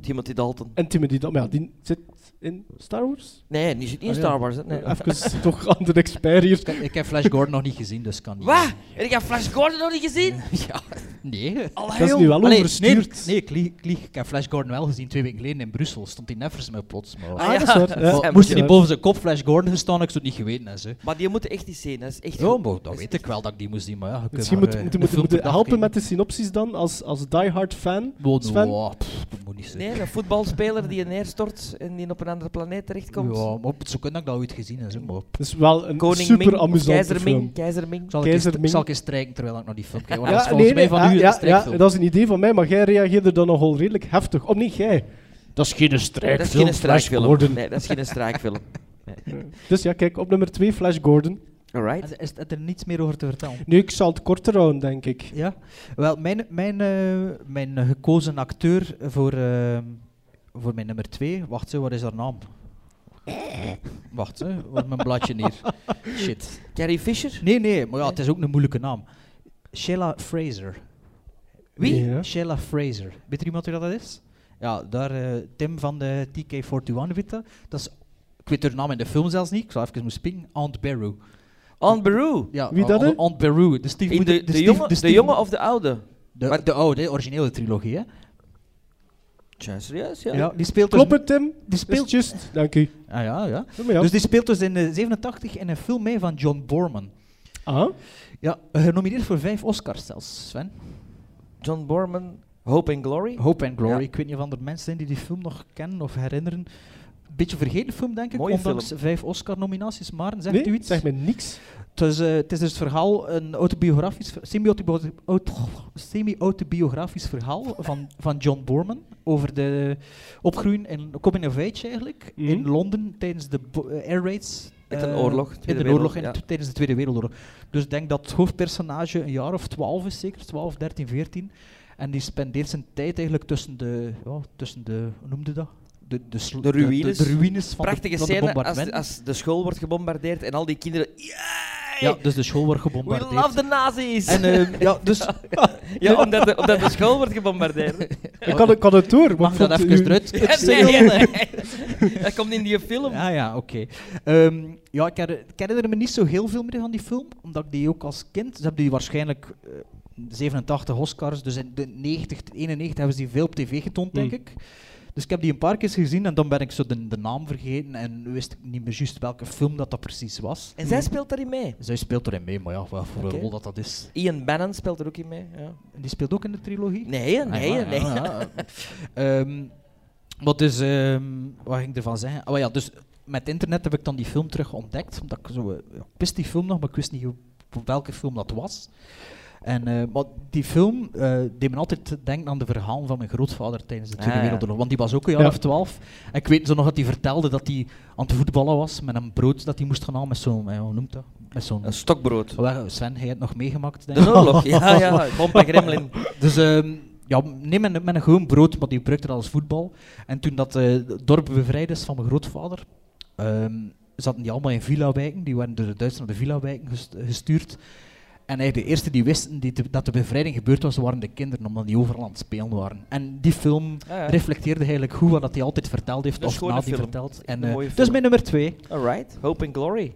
Timothy Dalton.
En Timothy Dalton, ja, die zit in Star Wars.
Nee, die zit niet in
Ah, ja.
Star Wars. hè. Nee.
Even toch aan de expert hier.
Ik, ik heb Flash Gordon nog niet gezien, dus kan niet.
Wat? Heb ik Flash Gordon nog niet gezien?
Ja, nee.
Dat is nu wel
Allee,
overstuurd.
Nee, nee ik, lieg, ik lieg. Ik heb Flash Gordon wel gezien twee weken geleden in Brussel. Stond hij neffers me plots. Maar,
Ah,
Ah, dat is waar. Ja.
Maar
ja,
moest hij
ja.
niet boven zijn kop Flash Gordon gestaan, ik zou het niet geweten hebben. ze.
Maar die moeten echt niet zien. Dat is echt
Ja,
goed.
maar dat
is
weet ik wel dat ik die moest zien, maar ja, je kunt
Misschien
maar,
moeten
eh,
moet,
een
moet,
film per dag
helpen
kijken.
met de synopsis dan, als, als diehard fan.
Wow,
Sven?
wow, pff, dat moet niet zijn.
Nee, een voetbalspeler die neerstort en die op een andere planeet terechtkomt.
Ja, maar zo kan ik dat ooit gezien hebben. zeg, Maar
Dat is wel een
Koning
super
Ming, of
amusante
Keizer
film.
Ming, Keizer Ming.
ik zal, ik eens,
Keizer
ik zal
Ming.
ik eens strijken terwijl ik nog die film kijk. Want
Ja,
dat is volgens
nee,
mij
nee,
van
ja,
u
ja,
een strijkfilm.
ja, dat is een idee van mij, maar jij reageerde dan nogal redelijk heftig. Of niet jij. Dat is geen
Nee,
strijd.
dat is geen
Gordon.
straakfilm. Nee, dat is geen straakfilm.
Dus ja, kijk, op nummer 2 Flash Gordon.
Alright.
En Is het er niets meer over te vertellen?
Nu, ik zal het korter houden, denk ik.
Ja, wel, mijn, mijn, eh, mijn gekozen acteur voor, eh, voor mijn nummer 2. Wacht, zo, wat is haar naam? Wacht, hè, wat is mijn bladje hier? Shit.
Carrie Fisher?
Nee, nee, maar ja, het is ook een moeilijke naam. Sheila Fraser.
Wie?
Ja.
Sheila Fraser. Weet er iemand wie dat is? Ja, daar eh, Tim van de TK41 weet dat. Dat is, ik weet haar naam in de film zelfs niet, ik zal even moeten springen. Aunt Beru.
On Beru.
Ja, eh,
Wie dat, hè?
Aunt- Aunt Beru, de
In
stiefmoeder.
de, de,
stief-
jonge, de
stief-
jonge of de oude?
de,
Maar-
de oude, originele trilogie, hè?
Ja, serieus? Ja.
Ja, die speelt
Klopt
dus...
het, Tim?
Die
Is
speelt...
just. Dank u.
Ah, ja, ja.
Doe maar ja.
Dus die speelt dus in eh, 87 in een film mee van John Borman.
Aha.
Ja, genomineerd voor vijf Oscars zelfs, Sven.
John Borman, Hope and Glory.
Hope and Glory.
Ja.
Ik weet niet of er mensen zijn die die film nog kennen of herinneren. Beetje vergeten film, denk ik,
Mooie
ondanks
film.
vijf Oscar-nominaties. Maar zegt
Nee,
u iets?
zeg me niks.
Het is, eh, het is dus het verhaal, een autobiografisch, ver- semi-autobio- auto- semi-autobiografisch verhaal van, van John Borman over de opgroeien in coming of age eigenlijk,
Mhm.
in Londen tijdens de bo- eh, air raids.
Met
eh,
een oorlog,
in
Tweede
de oorlog
Wereldoorlog,
en
ja.
t- tijdens de Tweede Wereldoorlog. Dus ik denk dat het hoofdpersonage een jaar of twaalf is, zeker 12, 13, 14. En die spendeert zijn tijd eigenlijk tussen de, ja, tussen de hoe noemde dat? De, de, sl-
De ruïnes.
De, de ruïnes van
Prachtige
de, van de
scène als de,
bombardementen.
als de school wordt gebombardeerd en al die kinderen... Yeah!
ja, dus de school wordt
We
gebombardeerd.
love the nazis!
En ehm, ja, dus...
ja, omdat de, omdat de school wordt gebombardeerd.
Ik had, ik had het door.
Mag
want
dat
u-
even eruit?
Ja, nee, nee, nee. Dat komt in die film.
Ja, ja, oké. Ehm, ja, ik, her, ik herinner me niet zo heel veel meer van die film, omdat ik die ook als kind... Ze hebben die waarschijnlijk eh, 87 Oscars, dus in de 90, 91 hebben ze die veel op tv getoond, denk
Hmm.
ik. Dus ik heb die een paar keer gezien en dan ben ik zo de, de naam vergeten en wist ik niet meer juist welke film dat, dat precies was.
En zij speelt daarin mee.
Zij speelt erin mee, maar ja, wat voor
Oké.
rol dat dat is.
Ian Bannon speelt er ook in mee. Ja.
En Die speelt ook in de trilogie?
Nee, nee,
Ah, ja,
nee.
ja, ja. Ehm, wat dus, ehm, wat ging ik ervan zeggen? Oh ja, dus met internet heb ik dan die film terug ontdekt. Omdat ik, zo, eh, ja, ik wist die film nog, maar ik wist niet hoe, welke film dat was. En, eh, maar die film eh deed me altijd denken aan de verhalen van mijn grootvader tijdens de Tweede
Ah, ja.
Wereldoorlog. Want die was ook een jaar
Ja.
of twaalf. En ik weet zo nog dat hij vertelde dat hij aan het voetballen was met een brood dat hij moest gaan halen met zo'n, eh, hoe noemt dat? Met zo'n...
Een stokbrood.
Wel, Sven, jij hebt het nog meegemaakt, denk ik.
De oorlog. Ja, ja. Bompa Gremlin.
Dus ehm, ja, neem met, met een gewoon brood, maar die gebruikte dat als voetbal. En toen dat eh, het dorp bevrijd is van mijn grootvader, ehm, zaten die allemaal in villa-wijken. Die werden door de Duitsers naar de villa-wijken gest- gestuurd. En eigenlijk de eerste die wisten die te- dat de bevrijding gebeurd was, waren de kinderen, omdat die overal aan het spelen waren. En die film
Ah, ja.
reflecteerde eigenlijk goed wat dat hij altijd verteld heeft,
Dus
of
gewoon
na
een
die
film.
verteld.
Een
En, eh,
mooie
dus
film.
mijn nummer twee.
Alright. Hope and Glory.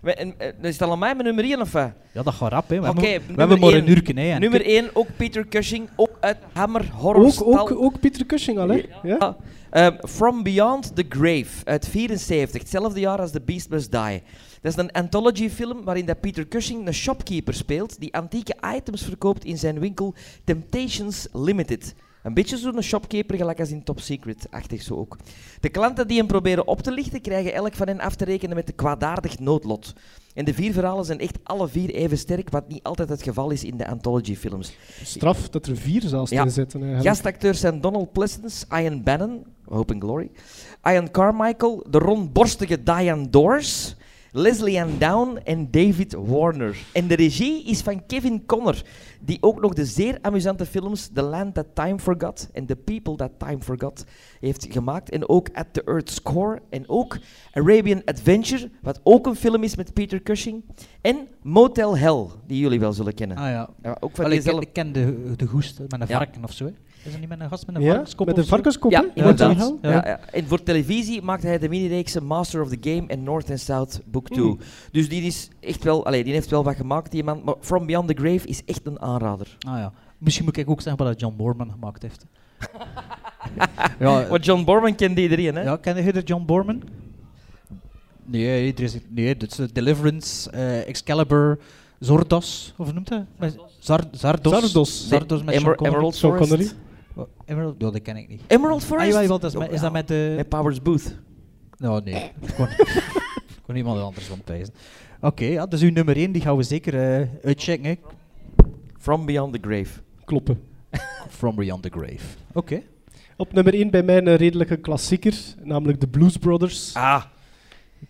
We- en, eh, is het al aan mij mijn nummer 1 of wat?
Ja, dat gaat rap, hè. We,
Oké,
hebben,
nummer
we hebben maar een
één.
uurtje, hè. En
Nummer
ik-
1, ook Peter Cushing, ook uit Hammer Horror
Ook, ook, ook Pieter Cushing al, hè? Ja?
Ja. Ehm, From Beyond the Grave uit 74, hetzelfde jaar als The Beast Must Die. Dat is een anthology film waarin dat Peter Cushing een shopkeeper speelt die antieke items verkoopt in zijn winkel Temptations Limited. Een beetje zo'n shopkeeper, gelijk als in Top Secret-achtig zo ook. De klanten die hem proberen op te lichten, krijgen elk van hen af te rekenen met een kwaadaardig noodlot. En de vier verhalen zijn echt alle vier even sterk, wat niet altijd het geval is in de anthology-films.
Straf dat er vier zelfs
Ja.
in zitten. eigenlijk.
Gastacteurs zijn Donald Pleasence, Ian Bannon, Hope and Glory, Ian Carmichael, de rondborstige Diane Doors, Leslie Ann Down en David Warner. En de regie is van Kevin Connor, die ook nog de zeer amusante films The Land That Time Forgot en The People That Time Forgot heeft gemaakt. En ook At the Earth's Core en ook Arabian Adventure, wat ook een film is met Peter Cushing. En Motel Hell, die jullie wel zullen kennen.
Ah ja,
Ja, ook van
Allee, ik, ken,
diezelfde-
ik ken de, de goest hè, met een
Ja.
varken of zo. hè. Is dat niet met een gast met een
Ja?
varkenskop?
Met een
of zo?
varkenskop,
Ja,
hè?
inderdaad.
Motel
Ja, ja. En voor televisie maakte hij de minireekse Master of the Game en North and South Book 2. Dus die, is echt wel, allee, die heeft wel wat gemaakt, die man. Maar From Beyond the Grave is echt een aanrader.
Ah, ja. Misschien moet ik ook zeggen wat dat John Borman gemaakt heeft. ja, eh,
Want John Borman kent iedereen, hè?
ja, ken je de John Borman? Nee, er is, nee dat is eh, Deliverance, eh, Excalibur, Zordos, of hoe noemt hij? Met- Zar- Zardos.
Zardos.
Zardos met
Emer-
Sean Connery.
Emerald
Sean
Forest.
Connery.
Oh, Emerald? Ja, dat ken ik niet.
Emerald
Ah,
Forest?
jawel, jawel, dat is, met- is dat met... eh,
Met Powers Booth.
Nou, nee. Ik kon, ik kon iemand anders van pijzen. Oké, ja, dus uw nummer 1 die gaan we zeker eh, uitchecken. hè.
From Beyond the Grave.
Kloppen.
From Beyond the Grave. Oké.
Op nummer 1 bij mij een redelijke klassieker, namelijk de Blues Brothers.
Ah,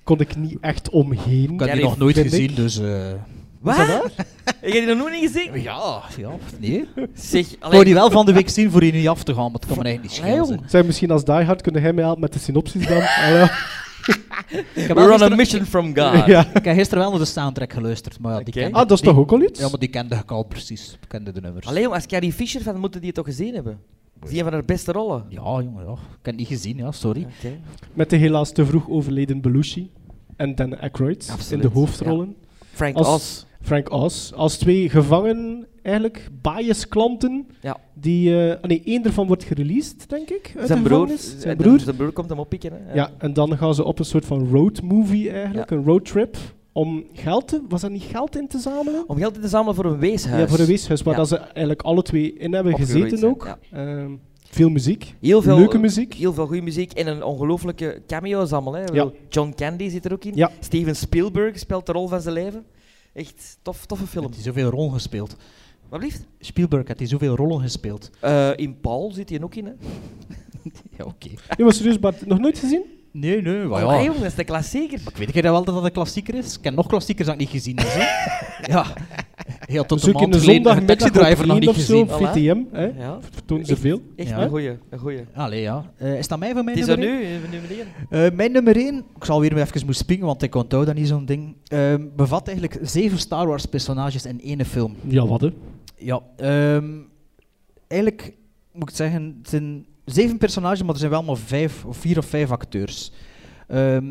Kon ik niet echt omheen.
Ik had die
Gary
nog nooit
Vind
gezien,
ik.
dus... eh,
wat? Ik heb die nog nooit niet gezien.
ja, ja, nee. Ik
Zeg,
wou
allee,
die wel van de week zien voor je niet af te gaan, maar het kan me eigenlijk niet schelen. zeg.
Zijn misschien als Die Hard kunnen jij mij helpen met de synopsis dan? Hallo.
Ik heb, wel
we're on a
gisteren,
mission from God.
ja.
ik heb gisteren wel naar de soundtrack geluisterd, maar ja, die
Oké.
kende
Ah, dat is
die-
toch ook al iets?
Ja, maar die kende ik al precies. Ik kende de nummers.
Allee, jong, als Carrie Fisher van moeten die het toch gezien hebben? Dat is een van haar beste rollen.
Ja, jongen, ja. Ik heb het niet gezien, ja, sorry.
Oké.
Met de helaas te vroeg overleden Belushi en Dan Aykroyd
Absoluut,
in de hoofdrollen.
Frank
Als-
Oz.
Frank Oz. Als twee gevangen, eigenlijk, biasklanten.
Ja.
Die, eh, ah nee, één daarvan wordt gereleased, denk ik. Uit
Zijn
de
broer,
gevangenis.
eh,
Zijn
de-
broer.
zijn broer komt hem oppikken. Hè.
Ja, en dan gaan ze op een soort van roadmovie eigenlijk, een roadtrip, om geld te... Was dat niet geld in te zamelen?
Om geld in te zamelen voor een weeshuis.
Ja, voor een weeshuis, waar
Ja.
dat ze eigenlijk alle twee in hebben
Opgegroeid
gezeten
zijn,
ook.
ja.
Ehm, veel muziek,
Heel veel,
leuke muziek.
Heel veel goede muziek en een ongelooflijke cameo's allemaal. Hè. Ik bedoel, John Candy zit er ook in.
Ja.
Steven Spielberg speelt de rol van zijn leven. Echt tof, toffe film.
Heeft hij zoveel rollen gespeeld?
Wat lief?
Spielberg had hij zoveel rollen gespeeld.
Eh, in Paul zit hij ook in. Hè.
Ja, oké.
Je was serieus, Bart, nog nooit gezien?
Nee, nee, maar
Oh,
ja.
jongen, dat is de klassieker.
Ik weet jij dat wel dat dat een klassieker is? Ik heb nog klassiekers dat ik niet gezien heb. hè. ja. Heel tot
Zoek
de
in
maand
de
geleden een
zondagmiddag
taxi
op
driver nog
één
niet
of zo,
gezien.
op
gezien.
VTM. Hè?
Ja.
Vertonen ze veel.
Echt
Ja.
een goeie, een goeie.
Allee, ja. Eh, is dat mij van mijn
Het is er
nummer
nu,
één?
eh, nummer één.
Eh, mijn nummer 1, ik zal weer even moeten springen, want ik onthoud dat niet zo'n ding, ehm, bevat eigenlijk zeven Star Wars personages in één film.
Ja, wat hè?
Ja, ehm, eigenlijk moet ik het zeggen, het zijn zeven personages, maar er zijn wel maar vijf, of vier of vijf acteurs. Ehm,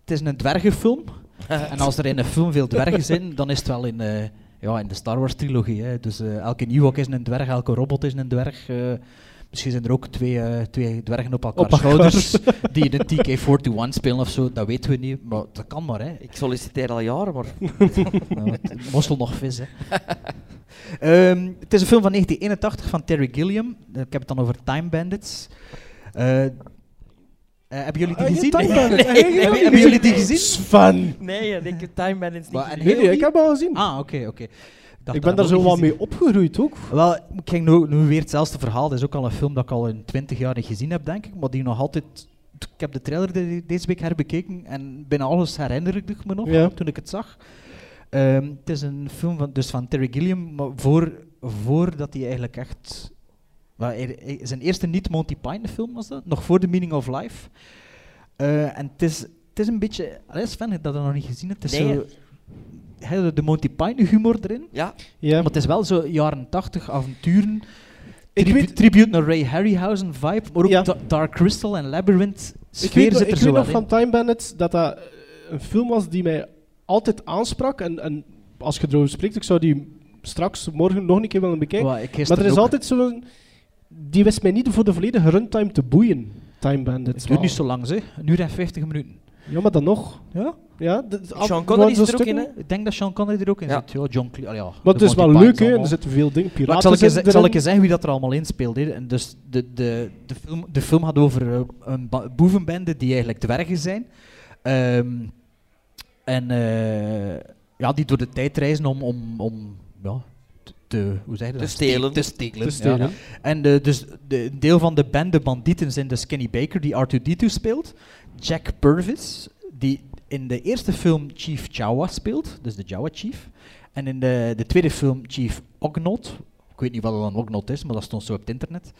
het is een dwergenfilm. en als er in een film veel dwergen zijn, dan is het wel in, eh, ja, in de Star Wars trilogie. Hè. Dus eh, elke Ewok is een dwerg, elke robot is een dwerg. eh, misschien zijn er ook twee, eh, twee dwergen op elkaar
Op elkaar.
schouders die in een TK-41 spelen of zo. Dat weten we niet, maar dat kan maar. Hè.
Ik solliciteer al jaren, maar
Nou, het mossel nog vis, hè. Ehm, het is een film van 1981 van Terry Gilliam. Eh, Ik heb het dan over Time Bandits. Eh, eh, hebben jullie die
Ah, je
gezien?
Time Bandits.
Nee,
Ah, jij
hebben-
ook
hebben
niet
jullie die gezien?
Sven!
nee, ik heb Time Bandits niet
Wat, en
gezien.
Nee,
Heel
nee, ik
niet?
heb al gezien.
Ah, oké, oké. dacht
ik ben
dat
daar
dat
zo
ook
wat
gezien-
mee opgeroeid ook.
Wel, ik ging nu, nu weer hetzelfde verhaal. Dat is ook al een film dat ik al in 20 jaar niet gezien heb, denk ik. Maar die nog altijd... Ik heb de trailer de- deze week herbekeken en bijna alles herinner ik me nog
Ja.
toen ik het zag. Ehm, het is een film van, dus van Terry Gilliam, maar voor, voordat hij eigenlijk echt... wel, hij- hij- zijn eerste niet-Monty Python film was dat, nog voor The Meaning of Life. Eh, en het is, het is een beetje... Allee, Sven, heb je dat nog niet gezien? Het is
Nee.
zo... Heel de Monty Python humor erin.
Ja,
Ja.
Maar het is wel zo jaren 80 avonturen.
Ik
Tribu-
weet-
tribute naar Ray Harryhausen vibe, maar ook
Ja.
Da- Dark Crystal en Labyrinth.
Ik
Sfeer
weet, nog-
zit er
ik
zo
weet
wel
nog
in.
van Time Bandits dat dat eh, een film was die mij altijd aansprak. En, en als je erover spreekt, ik zou die straks morgen nog een keer willen bekijken.
Wa, ik
maar
gisteren
er is
ook.
altijd zo'n... Die wist mij niet voor de volledige runtime te boeien, Time Bandits.
Het duurt niet
wel.
zo lang, zeg. Een uur en 50 minuten.
Ja, maar dan nog.
Ja?
Ja, dat-
Sean
af-
Connery
zo'n
is er ook in,
stukken.
hè?
Ik denk dat Sean Connery er ook in
Ja.
zit. Ja, John Cle- ah ja,
Maar
de
het is wel
Monty
leuk,
Python
hè? Er
allemaal.
zitten veel dingen.
Maar ik
Piraten
zal ik, eens,
zitten
ik zal ik
erin.
eens zeggen wie dat er allemaal in speelde. hè. En dus de, de, de, film, de film had over eh, een ba- boevenbende die eigenlijk dwergen zijn. Ehm, en eh, ja, die door de tijd reizen om, om, om ja, te- te, hoe zeg je dat?
Te stelen.
Te stelen,
Te stelen.
ja. En de, dus de, een deel van de bende bandieten zijn de Skinny Baker, die R2-D2 speelt. Jack Purvis, die in de eerste film Chief Jawa speelt, dus de Jawa Chief. En in de, de tweede film Chief Ognot. Ik weet niet wat dat dan Ognot is, maar dat stond zo op het internet.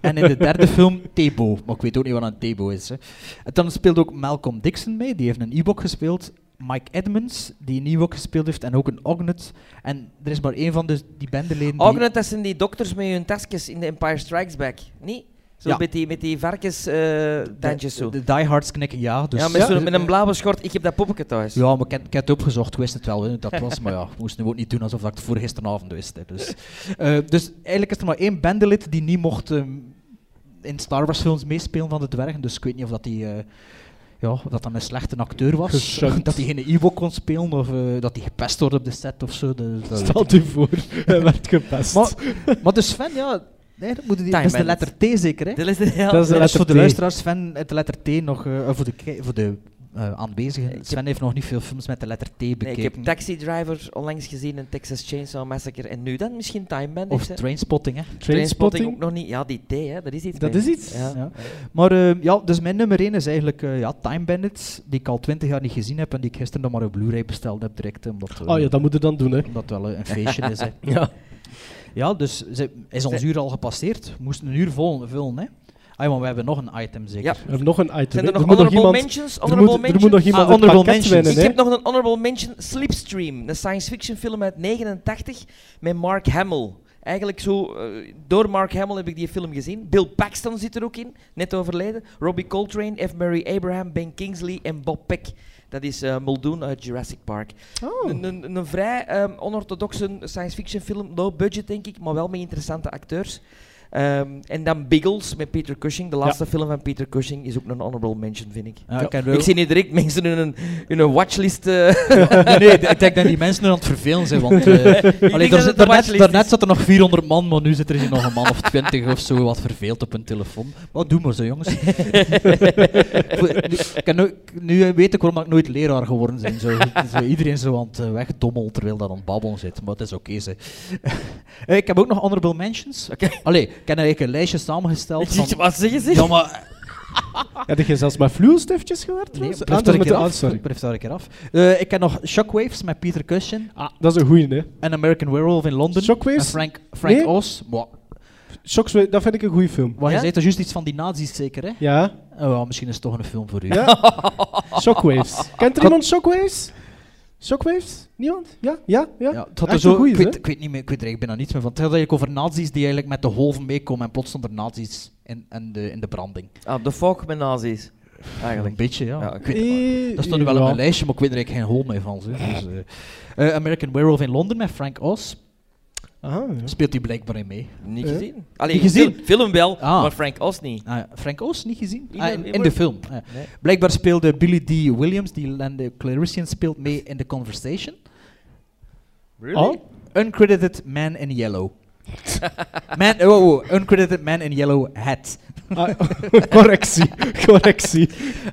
en in de derde film Tebo, maar ik weet ook niet wat een Tebo is. Hè. En dan speelt ook Malcolm Dixon mee, die heeft een Ewok gespeeld. Mike Edmonds, die een Ewok gespeeld heeft, en ook een Ognet. En er is maar één van de, die bendeleden
ook
die...
net dat zijn die dokters met hun tasjes in de Empire Strikes Back. Niet? Zo
Ja.
met die, met die varkens eh, tandjes zo.
de, de diehards knikken ja. Dus
ja, met, zo'n- met een blauwe schort. Ik heb dat poppetje thuis.
Ja, maar ik, heb- ik heb het opgezocht, ik wist het wel hè, dat het was, maar ja, ik moest nu ook niet doen alsof dat ik het voor gisteravond wist. Hè, dus. Eh, dus eigenlijk is er maar één bandelid die niet mocht ehm, in Star Wars films meespelen van de dwergen, dus ik weet niet of dat die... eh, ja, of dat dan een slechte acteur was,
Geshunt.
dat hij geen Ewok kon spelen, of eh, dat hij gepest wordt op de set of zo. dat- dat-
Stel je voor, hij werd gepest.
Maar, maar dus Sven, ja, nee, dat, moet die,
Time
dat is de
bandits.
letter T zeker, hè?
Dat is de ja.
Dat is de
Dat is
letter
voor de
T.
luisteraars, Sven, eh, de letter T nog, eh, eh, voor de, ki- voor de eh, aanwezigen.
heb-
Sven heeft nog niet veel films met de letter T bekeken.
Nee, ik heb Taxi Driver onlangs gezien in Texas Chainsaw Massacre. En nu dan misschien Time Bandits.
of
hè.
Trainspotting, hè.
Trainspotting ook nog niet. Ja, die T, hè. dat is iets.
Dat
mee.
is iets.
Ja.
Ja. Maar eh, ja, dus mijn nummer 1 is eigenlijk eh, ja, Time Bandits, die ik al 20 jaar niet gezien heb en die ik gisteren nog maar op Blu-ray besteld heb direct, eh, omdat, eh,
Oh ja, dat moet je dan doen, hè.
omdat het wel eh, een feestje is. Hè. Ja. ja, dus ze- is ons uur al gepasseerd. We moesten een uur vol vullen, hè. Ah, maar we hebben nog een item zeker.
Ja.
We hebben nog een item.
Zijn
hè.
er nog
moet
honorable
iemand-
mentions?
Er
Honorable
moet, er
mentions?
moet nog iemand
Ah,
het
honorable
pakket
mentions.
winnen,
Ik
hè.
heb nog een honorable mention, Slipstream, een science fiction film uit 89 met Mark Hamill. Eigenlijk zo, eh, door Mark Hamill heb ik die film gezien. Bill Paxton zit er ook in, net overleden. Robbie Coltrane, F. Murray Abraham, Ben Kingsley en Bob Peck. Dat is eh, Muldoon uit Jurassic Park.
Oh.
Een, een, een vrij ehm, onorthodoxe science fiction film, low budget denk ik, maar wel met interessante acteurs. Ehm, en dan Biggles met Peter Cushing. De laatste film van Peter Cushing is ook een honorable mention, vind ik.
Ja, ik heb
Ik
wel-
zie niet direct mensen in een, in een watchlist. eh,
nee, nee, ik denk dat die mensen nu aan het vervelen zijn, want eh, allee,
dat
daar,
het
zit-
de
daarnet,
watchlist
daarnet
is.
zat er nog 400 man, maar nu zit er hier nog een man of 20 of zo wat verveeld op hun telefoon. Wat doen we zo, jongens? Voor- nu, ik heb nu, nu weet ik waarom ik nooit leraar geworden ben. Zo, zo iedereen zo aan het eh, wegdommelen terwijl dat aan het babbelen zit, maar dat is oké. ze. Eh, ik heb ook nog honorable mentions. Allee, ik heb eigenlijk een lijstje samengesteld van...
Wat zeggen ze?
Ja, maar
Heb je zelfs met fluwelstiftjes gewerkt?
nee,
trouwens?
blijf,
Ah, dat
daar
is met
een keer
de
af.
ah, sorry.
blijf daar een keer af. Eh, ik heb nog Shockwaves met Peter Cushing.
Ah, dat is een goeie, hè.
An American Werewolf in London.
Shockwaves?
En Frank, Frank
Nee.
Oz. Wat,
Shocks, dat vind ik een goede film.
wat
Ja?
je zei, dat is juist iets van die nazi's zeker, hè?
Ja,
Oh, wel, misschien is het toch een film voor u.
ja. Shockwaves. Kent er iemand Shockwaves? Shockwaves? Niemand? Ja, ja, ja.
Ja, het
Echt
had er
een
zo,
goeie,
ik,
hè?
weet, ik weet niet meer, ik weet er eigenlijk bijna niets meer van. Het gaat eigenlijk over nazi's die eigenlijk met de golven meekomen en plots stonden er nazi's in, in, de, in de branding.
Ah, de fok met nazi's. Eigenlijk.
Een beetje, ja.
Ja,
ik weet,
Eh,
dat stond nu wel op
ja.
mijn lijstje, maar ik weet er eigenlijk geen hol mee van. zeg. Dus, eh, eh, American Werewolf in London met Frank Oz.
Aha, ja.
Speelt hij blijkbaar in mee.
Niet
Eh?
gezien. Allee,
Niet gezien?
Film, film wel,
Ah.
maar Frank Os niet.
Ah, ja, Frank Oz niet gezien?
Nee,
Ah,
nee,
in,
nee,
in de
maar-
film. ja.
Nee.
Blijkbaar speelde Billy D. Williams, die Lando Clarician speelt mee in The Conversation.
Oh?
Uncredited Man in Yellow. man, oh, oh, uncredited Man in Yellow Hat.
Ah, correctie, correctie.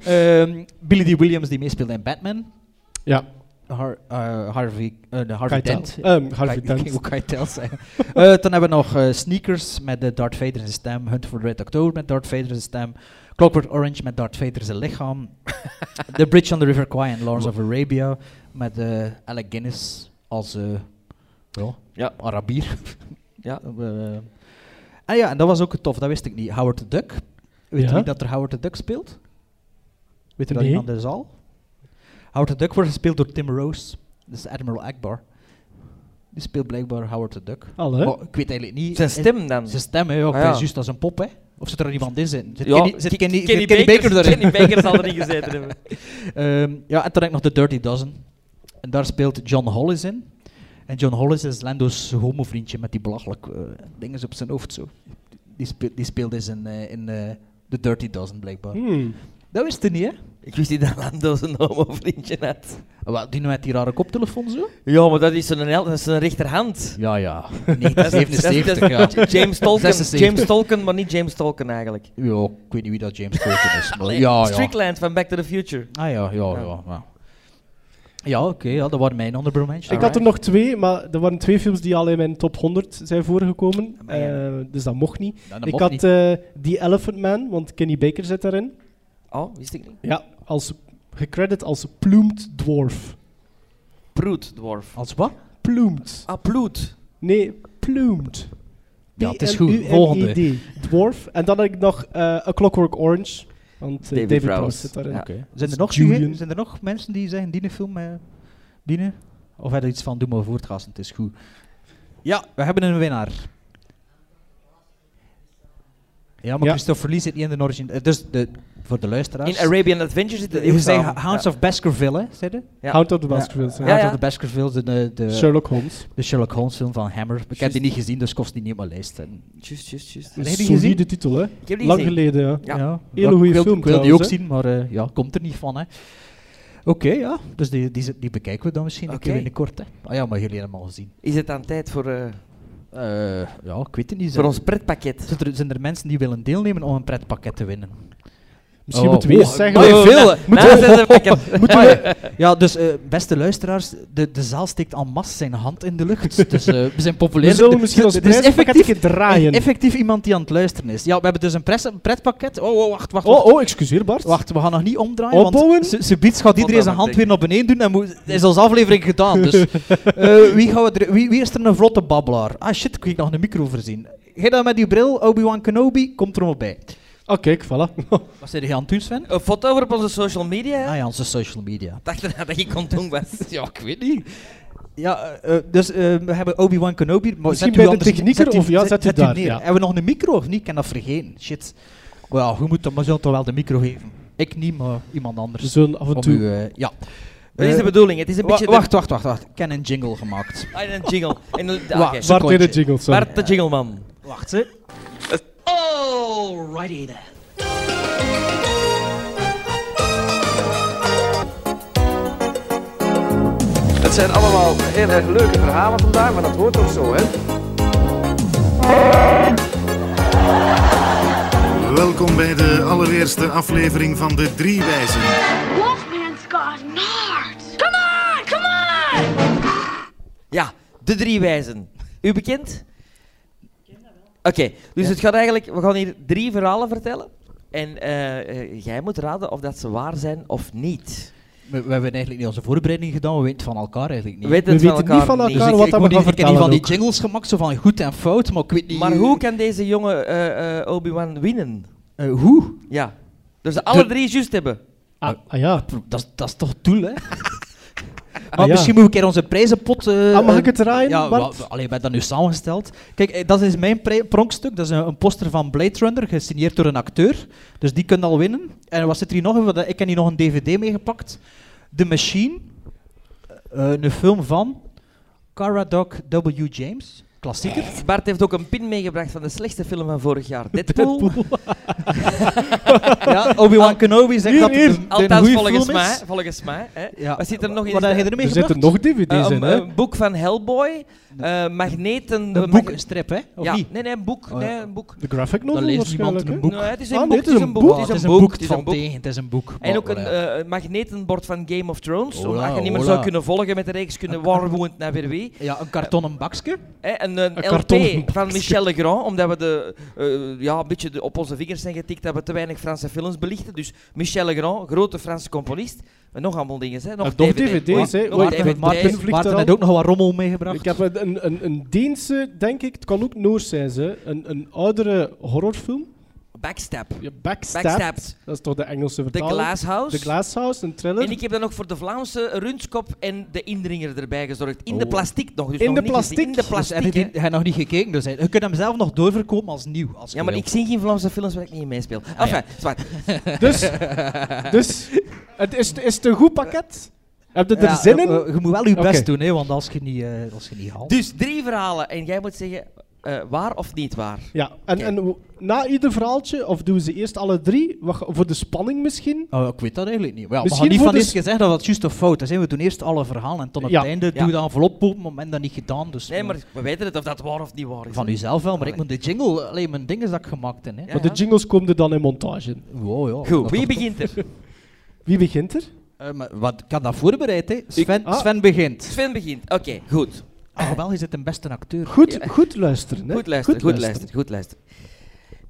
Ehm, Billy D. Williams die meespeelde in Batman.
Ja,
Har- eh, Harvey, eh, de Harvey
Keitel.
Dent.
Ehm, Harvey
Kei-
Dent.
Ik ging ook Keitel zeggen. Eh, dan hebben we nog eh, Sneakers met de Darth Vader in zijn stem. Hunt for the Red October met Darth Vader in zijn stem. Clockwork Orange met Darth Vader in zijn lichaam. the Bridge on the River Kwai en Lawrence of Arabia met eh, Alec Guinness als eh, ja,
Ja.
Arabier.
Ja.
Eh, ah ja, en dat was ook tof, dat wist ik niet. Howard the Duck. Weet
Ja.
je niet dat er Howard the Duck speelt? Weet er dat
Nee.
iemand in de zaal? Howard the Duck wordt gespeeld door Tim Rose. Dat is Admiral Akbar. Die speelt blijkbaar Howard the Duck.
Al, hè?
Maar ik weet eigenlijk niet.
Zijn
is-
stem dan?
Zijn stem, hè? Ja,
Ah,
hij
ja.
is juist als een pop, hè? Of zit er iemand in zitten? Zit
Ja,
Kenny, zit
Ki-
Kenny, zit
Kenny
Kenny Baker
Bakers-
erin?
Kenny Baker zal erin gezeten hebben.
Ehm, ja, en dan heb ik nog de Dirty Dozen. En daar speelt John Hollis in. En John Hollis is Lando's homovriendje met die belachelijke eh, dingen op zijn hoofd. Zo. Die, speelt, die speelde eens in, eh, in eh, The Dirty Dozen, blijkbaar.
Hmm.
Dat wist hij niet, hè?
Ik wist niet dat Lando zijn homo-vriendje had.
Ah, wel, die nou met die rare koptelefoon zo?
Ja, maar dat is zijn, hel- dat is zijn rechterhand.
Ja, ja.
Dat is- dat is-
1977,
dat is
ja.
James Tolkien,
76.
James Tolkien, maar niet James Tolkien eigenlijk.
Ja, ik weet niet wie dat James Tolkien is. Maar ja, ja.
Strickland van Back to the Future.
Ah ja, ja, ja.
Ja.
Ja, ja oké, ja, dat waren mijn andere mensen.
Ik had er nog twee, maar er waren twee films die al in mijn top 100 zijn voorgekomen.
Amai, ja.
eh, dus dat mocht niet.
Ja, dat
ik
mocht
had
niet.
eh, The Elephant Man, want Kenny Baker zit daarin.
Oh, wist ik niet.
Ja, als, gecredit als Plumed Dwarf.
Proet, dwarf.
Als wat?
Plumed.
Ah, Ploet.
Nee, Plumed.
Ja, het is goed.
P-L-U-M-E-D.
Volgende.
Dwarf. En dan had ik nog eh, A Clockwork Orange. Want eh,
David
David,
Prowse.
Prowse zit daarin.
Ja.
Zijn er, nog
Julian.
sugge- zijn er nog mensen die zeggen, die film, eh dienen? Of hebben iets van, doe maar voortgassen, het is goed. Ja, we hebben een winnaar. Ja, maar
Ja.
Christopher Lee zit niet in de origine. eh, Dus de, voor de
In
luisteraars.
Arabian Adventure zit er
Je
ook
zei
samen.
Hounds
Ja.
of Baskerville, hè, zei je?
Ja.
Hound of the Baskervilles.
Ja,
ja.
Hounds
ja.
of the Baskerville, de, de, de,
Sherlock Holmes.
de Sherlock Holmes film van Hammer. Ik heb die niet gezien, dus kost die niet op mijn lijst. En-
Juist, juist, juist.
Heb
Een
je die gezien?
solide titel, hè?
heb die
Lang
gezien.
geleden, ja.
Ja.
Hele goede
ik wil,
film
Ik wil die ook
trouwens, hè.
zien, maar eh, ja, komt er niet van. hè. Oké, ja. Dus die, die, zit- die bekijken we dan misschien een
Oké.
keer binnenkort. Hè. Ah ja, maar jullie hebben hem al gezien.
Is het dan tijd voor, eh,
Eh, ja, ik weet het niet.
voor
Zijn-
ons pretpakket?
Zijn er, zijn er mensen die willen deelnemen om een pretpakket te winnen?
Misschien
Oh,
moeten we eerst
oh,
zeggen...
oh,
of-
veel, hè.
Moeten we het pakket?
Moeten we- ja, dus eh, beste luisteraars, de, de zaal steekt en masse zijn hand in de lucht. Dus eh, we zijn populair.
We zullen
Dit-
misschien ons
dit is
prijspakket
effectief- e-,
een keer draaien.
Effectief iemand die aan het luisteren is. Ja, we hebben dus een, pres, een pretpakket. Oh, oh, wacht, wacht.
Oh, oh, excuseer Bart.
Wacht, we gaan nog niet omdraaien,
Opbouwen?
want ze- subiet gaat iedereen zijn hand weer naar beneden doen en moet- is als aflevering gedaan. Dus eh, wie, gaan we er, wie, wie is er een vlotte babbelaar? Ah shit, ik heb nog een micro voorzien. Ga dan met die bril, Obi-Wan Kenobi, komt er allemaal bij.
Ah, kijk, voilà.
Wat zei je aan het doen, Sven?
Een foto over op onze social media? hè?
Ah ja, onze social media.
Ik dacht erna dat je condoom was. ja, ik weet niet.
Ja, eh, eh, dus eh, we hebben Obi-Wan Kenobi. Maar
Misschien
zet
bij
u
de
anders-
technieker
u-
of ja, zet u daar,
neer.
ja.
Hebben we nog een micro of niet? Ik kan dat vergeten. Shit. Wel, we moeten maar zo toch wel de micro geven. Ik niet, maar iemand anders.
Zo'n af en
Om
toe.
u, eh, ja.
Dat is de
Eh,
bedoeling. Het is een
wa-
beetje... de-
wacht, wacht, wacht, wacht. Ik heb een jingle gemaakt.
Ah, en een jingle. En, een-
Wa-
oké.
Secondje.
Bart in de jingle, sorry.
Bart de jingleman.
Wacht, hè.
Alrighty then.
Het zijn allemaal heel erg leuke verhalen vandaag, maar dat hoort toch zo, hè?
Welkom bij de allereerste aflevering van de Drie Wijzen.
Wolfman's got nards. Come on, come on!
Ja, de drie wijzen. U bekend? Oké, dus het gaat eigenlijk... We gaan hier drie verhalen vertellen. En eh, eh, jij moet raden of dat ze waar zijn of niet.
We, we hebben eigenlijk niet onze voorbereiding gedaan, we weten het van elkaar eigenlijk niet.
We weten
We
het
weten niet van
niet.
elkaar
ik,
wat
ik
dat
moet
we gaan
hier- ik heb hier
vertellen
van die
ook.
jingles gemaakt, zo van goed en fout, maar ik weet niet...
Maar hoe kan deze jonge eh, eh, Obi-Wan winnen?
Eh, hoe?
Ja. Dus ze alle
De-
drie juist hebben.
Ah, ah ja.
Dat, is- dat is toch het doel, hè? maar
ja.
misschien moet ik er onze prijzenpot... eh,
Ah, mag
eh,
ik het draaien,
Ja,
Bart?
wa- allee, ben dat nu samengesteld. Kijk, eh, dat is mijn pri- pronkstuk. Dat is een, een poster van Blade Runner, gesigneerd door een acteur. Dus die kunt al winnen. En wat zit er hier nog? in? Wat- Ik heb hier nog een dvd meegepakt. The Machine. Eh, een film van Caradoc W. James. Klassieker.
Bart heeft ook een pin meegebracht van de slechtste film van vorig jaar. Deadpool.
ja, Obi-Wan Kenobi zegt
Hier,
dat
hier.
het een, een
Althans,
goede film
volgens
is.
mij. Volgens mij hè.
Ja.
Wat zit er nog in?
Wat eh,
Is
heb je
dat-
er mee
Er zitten
gebracht?
nog dvd's
Eh,
in,
een,
hè?
een boek van Hellboy. eh magneten.
Een boek, een strip, hè? Of
ja.
niet?
Nee, nee, een boek.
Oh,
nee,
ja.
een boek.
De graphic
Dan
novel
leest
waarschijnlijk,
niemand een
hè?
boek.
Nee, het is een
Ah, nee,
boek.
het is een boek.
Het
Het
is een
Het
boek. Het is
valt
een boek.
tegen, het is een boek.
En ook
Maar,
een
ja.
eh, magnetenbord van Game of Thrones.
Oh, Hola,
omdat je niet meer
hola.
zou kunnen volgen met de reeks kunnen warwoend naar weer wie.
Ja, een kartonnen bakje.
Hè, een, een
Een
LP
kartonnen
van
bakje.
Michel Legrand, omdat we de, eh, ja, een beetje de- op onze vingers zijn getikt dat we te weinig Franse films belichten. Dus Michel Legrand, grote Franse componist. En nog allemaal dingen. Hè. Nog
Eh, nog
hè.
DVD's, hè.
Nog
Wacht,
DVD's.
even, Maarten vliegt
Maarten
er
heeft
al.
ook nog wat rommel meegebracht.
Ik heb een, een, een, een Deense, denk ik, het kan ook Noors zijn, ze. Een, een oudere horrorfilm.
Backstab.
Ja, Backstab.
Backstabbed.
Dat is toch de Engelse
The
vertaling?
Glass House.
The Glass House, een thriller.
En ik heb dan nog voor de Vlaamse rundskop en de indringer erbij gezorgd. In de
Oh.
plastic nog. Dus
In
nog
de
niet gezien.
plastic?
In de
Dus
plastic.
heb je
hè.
die- heb je nog niet gekeken. Dus hij- je kunt hem zelf nog doorverkopen als nieuw. Als
Ja, maar ik zie geen Vlaamse films waar ik niet in meespeel.
Ah,
Enfin, zwart.
Dus, dus het is, is het een goed pakket? Heb je er
Ja,
zin in?
eh, eh, je moet wel je
Oké.
best doen, hè, want als je niet, eh, als je niet haalt.
Dus drie verhalen en jij moet zeggen eh, waar of niet waar.
ja, en,
oké.
en hoe- na ieder verhaaltje, of doen we ze eerst alle drie? Wat, ga- voor de spanning misschien?
Oh, ik weet dat eigenlijk niet. Maar Ja, we gaan
Misschien
niet van
moet
eerst
dus-
gezegd dat dat juist of fout is. hè. We doen eerst alle verhalen en tot op
Ja.
het einde
Ja.
doe je de envelop open. Op het moment dat niet gedaan. Dus
Nee, maar we weten het of dat waar of niet waar is.
Van
hè.
uzelf wel, maar ik moet de jingle, alleen mijn ding is dat ik gemaakt heb. Hè.
Ja,
Maar de
ja.
jingles komen er dan in montage.
Wow, ja.
Goed,
Dat
wie
toch-
begint er?
Wie begint er?
Eh, maar wat, ik had dat voorbereid, hè. Sven,
ah.
Sven begint.
Sven begint. Oké, goed.
Ah, wel, je zit een beste acteur.
Goed,
Ja.
goed luisteren. Hè?
Goed luisteren, goed, luisteren, goed luisteren.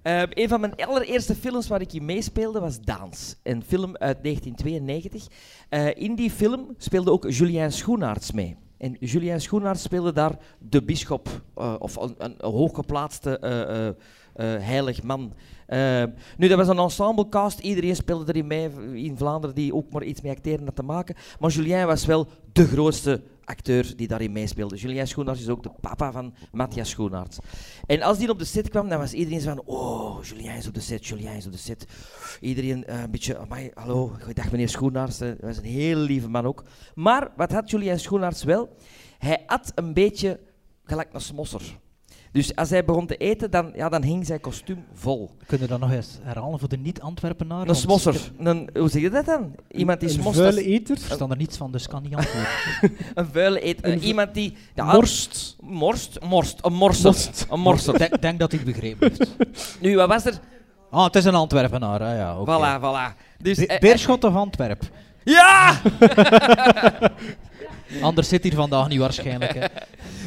Ehm, een van mijn allereerste films waar ik in meespeelde was Daans. Een film uit 1992. Eh, in die film speelde ook Julien Schoenaerts mee. En Julien Schoenaerts speelde daar de bisschop, eh, of een, een hooggeplaatste eh, eh, eh, heilig man. Eh, nu, dat was een ensemblecast. Iedereen speelde erin mee in Vlaanderen die ook maar iets mee acteren had te maken. Maar Julien was wel de grootste acteur die daarin meespeelde. Julien Schoenaerts is ook de papa van Matthias Schoenaerts. En als die op de set kwam, dan was iedereen zo van... Oh, Julien is op de set, Julien is op de set. Iedereen eh, een beetje... Amai, hallo, goeiedag meneer Schoenaerts. Eh, Hij was een heel lieve man ook. Maar wat had Julien Schoenaerts wel? Hij at een beetje gelijk een smosser. Dus als hij begon te eten, dan, ja, dan hing zijn kostuum vol.
Kunnen we dat nog eens herhalen voor de niet-Antwerpenaren?
Een
Want
smosser. Een, hoe zeg je dat dan? Iemand die
Een
smost.
vuile
dat is-
eter.
Ik versta er niets van, dus kan niet antwoorden.
Een vuile eet.
Een vu-
iemand die... ja,
Morst.
Morst? Morst. Een morser.
Morst.
Een
Ik
morser.
denk, denk dat hij het begrepen heeft.
Nu, wat was er?
Ah, het is een Antwerpenaar, hè, ja. oké.
Voilà, voilà. Dus,
Be-
eh, eh,
Beerschot of Antwerp?
ja!
Anders zit hier vandaag niet waarschijnlijk. Hè.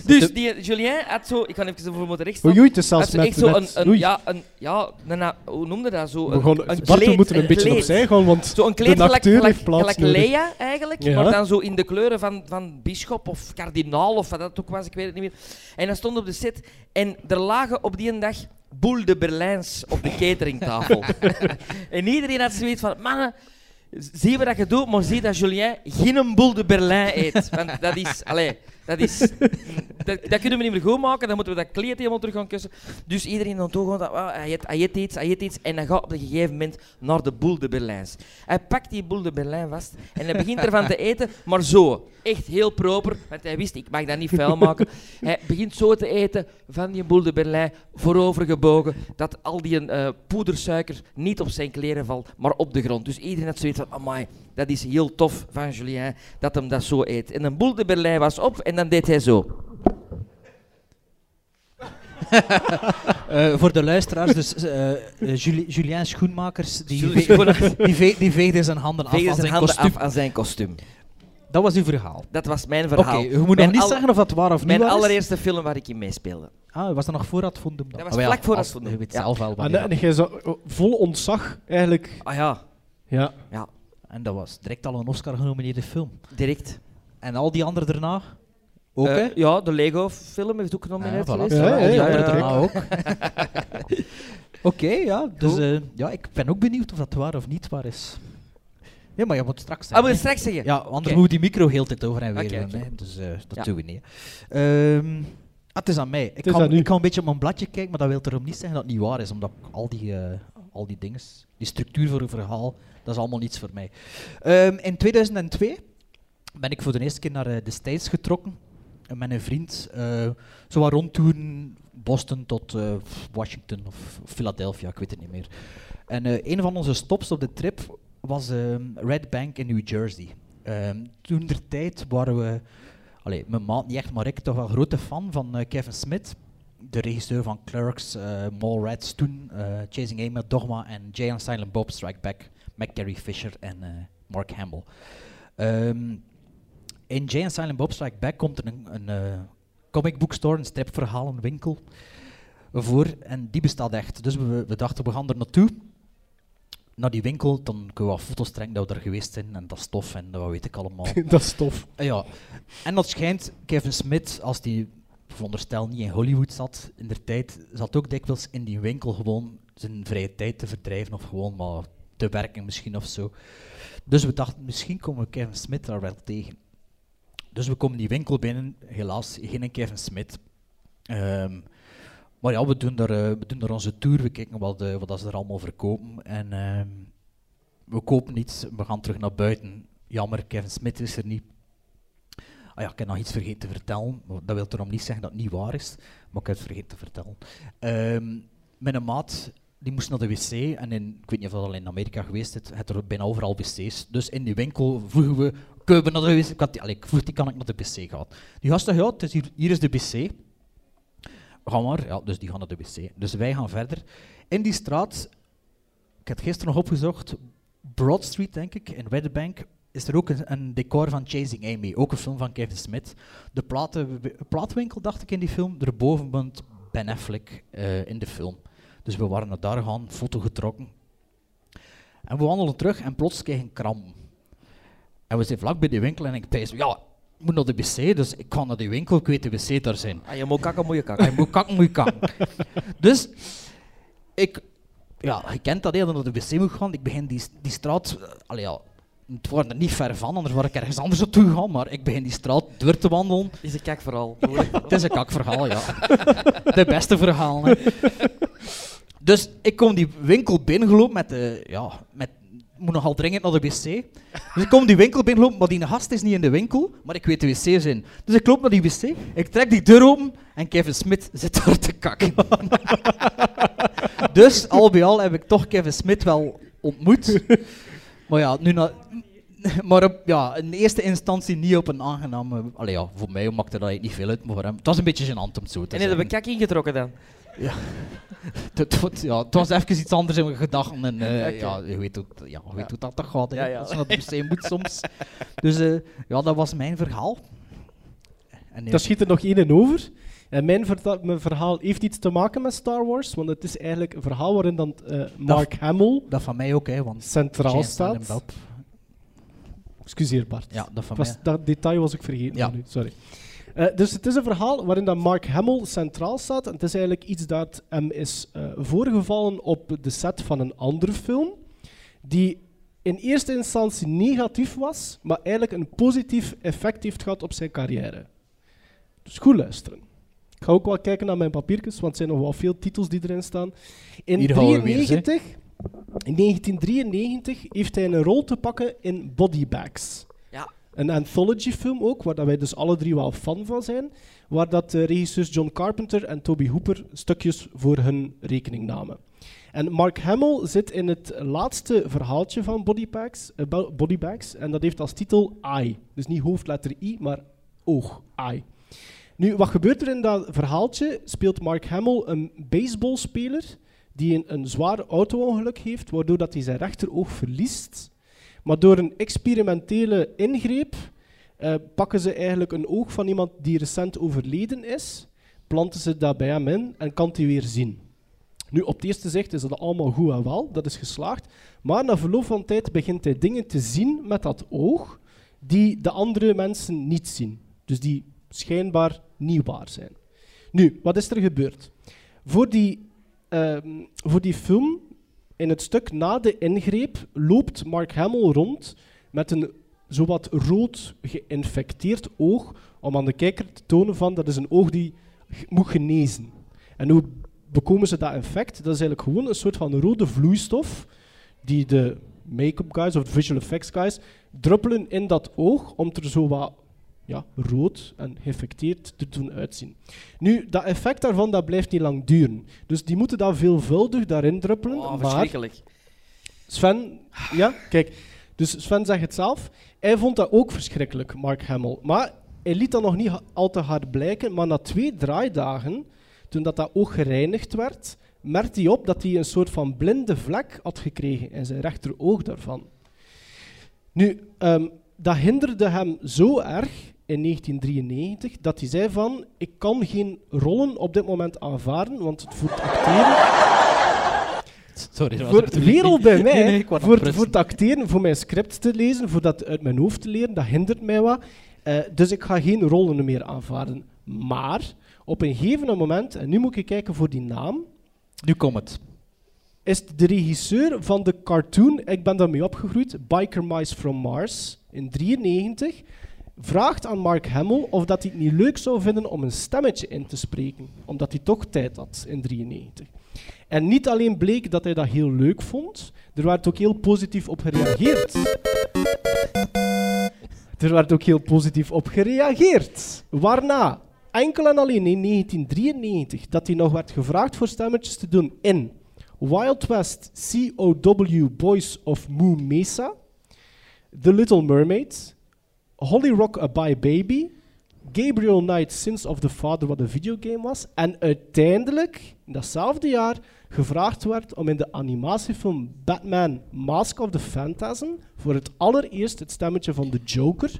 Dus die Julien had zo... Ik kan even voor moeten
Oei,
rechtstaan.
oei, het is zelfs
Had zo
met...
echt zo een...
met-
een
oei.
ja, een, ja een, na- hoe noemde dat zo?
We, gaan,
een
Bart, we
kleed,
moeten een, beetje
kleed.
opzij gaan, want
Zo'n kleed
de
gelijk,
acteur
gelijk,
heeft plaats
gelijk
nodig.
Lea eigenlijk,
Ja.
maar dan zo in de kleuren van, van bischop of kardinaal of wat dat ook was, ik weet het niet meer. En dat stond op de set en er lagen op die dag boel de Berlijns op de cateringtafel. en iedereen had zoiets van, mannen, zie we dat je doet, maar zie dat Julien geen boel de Berlijn eet. Want dat is, allee, Dat, is, dat, dat kunnen we niet meer goed maken, dan moeten we dat kleed helemaal terug gaan kussen. Dus iedereen dan toch gewoon dat, ah, hij, eet, hij eet iets, hij eet iets. En dan gaat op een gegeven moment naar de boel de Berlijns. Hij pakt die boel de Berlijn vast en hij begint ervan te eten, maar zo. Echt heel proper, want hij wist, ik mag dat niet vuil maken. Hij begint zo te eten van die boel de Berlijn, voorovergebogen, dat al die eh, poedersuiker niet op zijn kleren valt, maar op de grond. Dus iedereen had zoiets van, amai, dat is heel tof van Julien, dat hem dat zo eet. En een boel de Berlijn was op en dan deed hij zo.
Eh, voor de luisteraars, dus eh, eh, Juli- Julien Schoenmakers, die,
Julien
ve- die, ve- die veegde zijn handen af
Veegde
aan
zijn
zijn
handen
kostuum.
af aan zijn kostuum.
Dat was uw verhaal.
Dat was mijn
Oké,
verhaal.
je moet nog
Mijn
niet
al-
zeggen of dat waar of niet
Mijn
waar is.
allereerste film waar ik in meespeelde.
Ah, was dat nog voor Ad Fundum dan?
Dat was
Ah, wel,
vlak voor Ad
als-
Fundum,
Je weet
ja.
zelf wel
En,
wanneer.
en jij zo- eh, vol ontzag eigenlijk.
Ah ja,
Ja.
ja
En dat was direct al een Oscar genomineerde film.
direct.
En al die anderen daarna? Ook,
Eh,
hè?
ja, de Lego-film heeft ook genomineerd
Ah, voilà,
geweest.
voilà,
Ja,
al die
ja,
anderen
ja,
Ah,
daarna
ja.
ook. Oké, ja. Dus eh, ja, ik ben ook benieuwd of dat waar of niet waar is. Ja, maar je moet straks
Ah,
zeggen.
wil
hè.
je straks zeggen?
Ja, anders
Oké.
moet die micro heel de tijd over en weer
Oké,
gaan,
oké.
Hè. Dus eh, dat
Ja.
doen we niet. hè. Ehm, ah, het is aan mij. Ik
is
ga,
aan u.
ik ga een beetje op mijn bladje kijken, maar dat wil erom niet zeggen dat het niet waar is. Omdat ik al die, eh, al die dingen, die structuur voor een verhaal, dat is allemaal niets voor mij. Ehm, in 2002 ben ik voor de eerste keer naar eh, de States getrokken. En met een vriend. eh zo wat rondtoeren, Boston tot eh, Washington of Philadelphia, ik weet het niet meer. En eh, een van onze stops op de trip was ehm, Red Bank in New Jersey. Ehm, toen der tijd waren we, allee, mijn maat niet echt, maar ik toch wel grote fan van eh, Kevin Smith. De regisseur van Clerks, eh Mallrats toen, eh, Chasing Amy, Dogma en Jay and Silent Bob Strike Back met Carrie Fisher en eh, Mark Hamill. Ehm, in Jay and Silent Bob Strike Back komt er een, een eh, comic book store, een stripverhalenwinkel voor en die bestaat echt. Dus we, we dachten, we gaan er naartoe, naar die winkel, dan kunnen we wat foto's trekken dat we er geweest zijn en dat is tof en dat weet ik allemaal.
dat is tof.
Eh, Ja, en dat schijnt Kevin Smith, als die veronderstel niet in Hollywood zat in der tijd, zat ook dikwijls in die winkel gewoon zijn vrije tijd te verdrijven of gewoon maar te werken misschien of zo. Dus we dachten, misschien komen we Kevin Smith daar wel tegen. Dus we komen die winkel binnen, helaas geen Kevin Smith. Ehm, maar ja, we doen, daar, eh, we doen daar onze tour, we kijken wat, eh, wat dat ze er allemaal verkopen. En ehm, we kopen niets, we gaan terug naar buiten. Jammer, Kevin Smith is er niet. Ah ja, ik heb nog iets vergeten te vertellen. maar Dat wil erom niet zeggen dat het niet waar is, maar ik heb het vergeten te vertellen. Ehm mijn maat die moest naar de wc en in, ik weet niet of dat al in Amerika geweest is, het er bijna overal wc's. Dus in die winkel vroegen we, kunnen we naar de wc? Ik, had die, allee, ik vroeg die, kan ik naar de wc gaan? Die gasten, ja, het is hier, hier is de wc. Ga maar, ja, dus die gaan naar de wc. Dus wij gaan verder. In die straat, ik heb het gisteren nog opgezocht, Broad Street, denk ik, in Red Bank, is er ook een, een decor van Chasing Amy, ook een film van Kevin Smith. De platen, plaatwinkel, dacht ik, in die film, erboven bent Ben Affleck eh, in de film. Dus we waren naar daar gaan, foto getrokken. En we wandelen terug en plots kreeg ik een kramp. En we zijn vlak bij die winkel en ik dacht, ja, ik moet naar de wc, dus ik ga naar die winkel, ik weet de wc daar zijn.
Ah, je moet kakken, moet je kakken.
Hij moet kakken, moet je kakken. dus ik, ja, je kent dat, hè, dat je naar de wc moet gaan. Ik begin die, die straat, eh, allee, ja, het waren er niet ver van, anders was ik ergens anders naartoe gegaan, maar ik begin die straat door te wandelen.
Is een kak vooral.
Het is een kakverhaal, ja. De beste verhaal. hè. Dus ik kom die winkel binnengelopen met de, ja, met, ik moet nogal dringend naar de wc. Dus ik kom die winkel binnengelopen, maar die gast is niet in de winkel, maar ik weet de wc's in. Dus ik loop naar die wc, ik trek die deur open en Kevin Smith zit daar te kakken. dus al bij al heb ik toch Kevin Smith wel ontmoet. Maar ja, nu na, maar op, ja, in eerste instantie niet op een aangename... Allee ja, voor mij maakte dat niet veel uit, maar voor hem... Het was een beetje gênant om het zo te
En hebben we
zeggen.
kak ingetrokken dan.
Het, was- ja, het was even iets anders in mijn gedachten. En, eh, ja, je weet, hoe, het- ja, je weet hoe dat toch gaat. hè.
Ja, ja.
Als je naar de wc moet soms. Dus eh, ja, dat was mijn verhaal. En, eh,
Daar schiet er nog één in over. En mijn, verta- mijn verhaal heeft iets te maken met Star Wars, want het is eigenlijk een verhaal waarin dan eh, Mark Hamill
dat van mij ook, hè, want...
centraal
Jane Silent
staat.
Bob.
Excuseer Bart.
Ja, dat van
Was-
mij.
dat detail was ik vergeten.
Ja.
van u, Sorry. Eh, dus het is een verhaal waarin dat Mark Hamill centraal staat. En het is eigenlijk iets dat hem is eh, voorgevallen op de set van een andere film. Die in eerste instantie negatief was, maar eigenlijk een positief effect heeft gehad op zijn carrière. Dus goed luisteren. Ik ga ook wel kijken naar mijn papiertjes, want er zijn nog wel veel titels die erin staan. In
Hier gaan we weer, zeg.
93, in 1993 heeft hij een rol te pakken in Body Bags.
Ja.
Een anthology film ook, waar dat wij dus alle drie wel fan van zijn. Waar dat eh, regisseurs John Carpenter en Toby Hooper stukjes voor hun rekening namen. En Mark Hamill zit in het laatste verhaaltje van Body Bags, eh, bo- Body Bags en dat heeft als titel I. Dus niet hoofdletter I, maar oog, I. Nu, wat gebeurt er in dat verhaaltje? Speelt Mark Hamill een baseballspeler die een, een zwaar auto-ongeluk heeft, waardoor dat hij zijn rechteroog verliest. Maar door een experimentele ingreep eh, pakken ze eigenlijk een oog van iemand die recent overleden is, planten ze dat bij hem in en kan hij weer zien. Nu, op het eerste zicht is dat allemaal goed en wel, dat is geslaagd. Maar na verloop van tijd begint hij dingen te zien met dat oog die de andere mensen niet zien. Dus die schijnbaar niet waar zijn. Nu, wat is er gebeurd? Voor die, ehm, voor die film, in het stuk na de ingreep, loopt Mark Hamill rond met een zowat rood geïnfecteerd oog om aan de kijker te tonen van dat is een oog die g- moet genezen. En hoe bekomen ze dat effect? Dat is eigenlijk gewoon een soort van rode vloeistof die de make-up guys of de visual effects guys druppelen in dat oog om het er zo wat ja, rood en geïnfecteerd te doen uitzien. Nu, dat effect daarvan dat blijft niet lang duren. Dus die moeten dat veelvuldig daarin druppelen.
Oh,
maar
verschrikkelijk.
Sven, ja, kijk. Dus Sven zegt het zelf. Hij vond dat ook verschrikkelijk, Mark Hamill. Maar hij liet dat nog niet ha- al te hard blijken. Maar na twee draaidagen, toen dat, dat oog gereinigd werd, merkte hij op dat hij een soort van blinde vlek had gekregen in zijn rechteroog daarvan. Nu, ehm, dat hinderde hem zo erg in 1993 dat hij zei van ik kan geen rollen op dit moment aanvaarden, want het voert acteren
Sorry, dat was
voor
de
het
bedoeling
wereld
niet.
bij mij,
Nee, nee, ik wou dat
voor, het-
prusten.
voor het acteren, voor mijn script te lezen, voor dat uit mijn hoofd te leren, dat hindert mij wat. Eh, dus ik ga geen rollen meer aanvaarden. Maar op een gegeven moment, en nu moet ik kijken voor die naam,
Nu komt het.
is het de regisseur van de cartoon, ik ben daarmee opgegroeid, Biker Mice from Mars, in 93, vraagt aan Mark Hamill of dat hij het niet leuk zou vinden om een stemmetje in te spreken, omdat hij toch tijd had in 93. En niet alleen bleek dat hij dat heel leuk vond, er werd ook heel positief op gereageerd. Er werd ook heel positief op gereageerd. Waarna, enkel en alleen in 1993, dat hij nog werd gevraagd voor stemmetjes te doen in Wild West COW Boys of Moo Mesa, The Little Mermaid, Holly Rock A Bye Baby, Gabriel Knight Sins of the Father, wat een videogame was, en uiteindelijk, in datzelfde jaar, gevraagd werd om in de animatiefilm Batman Mask of the Phantasm voor het allereerst het stemmetje van de Joker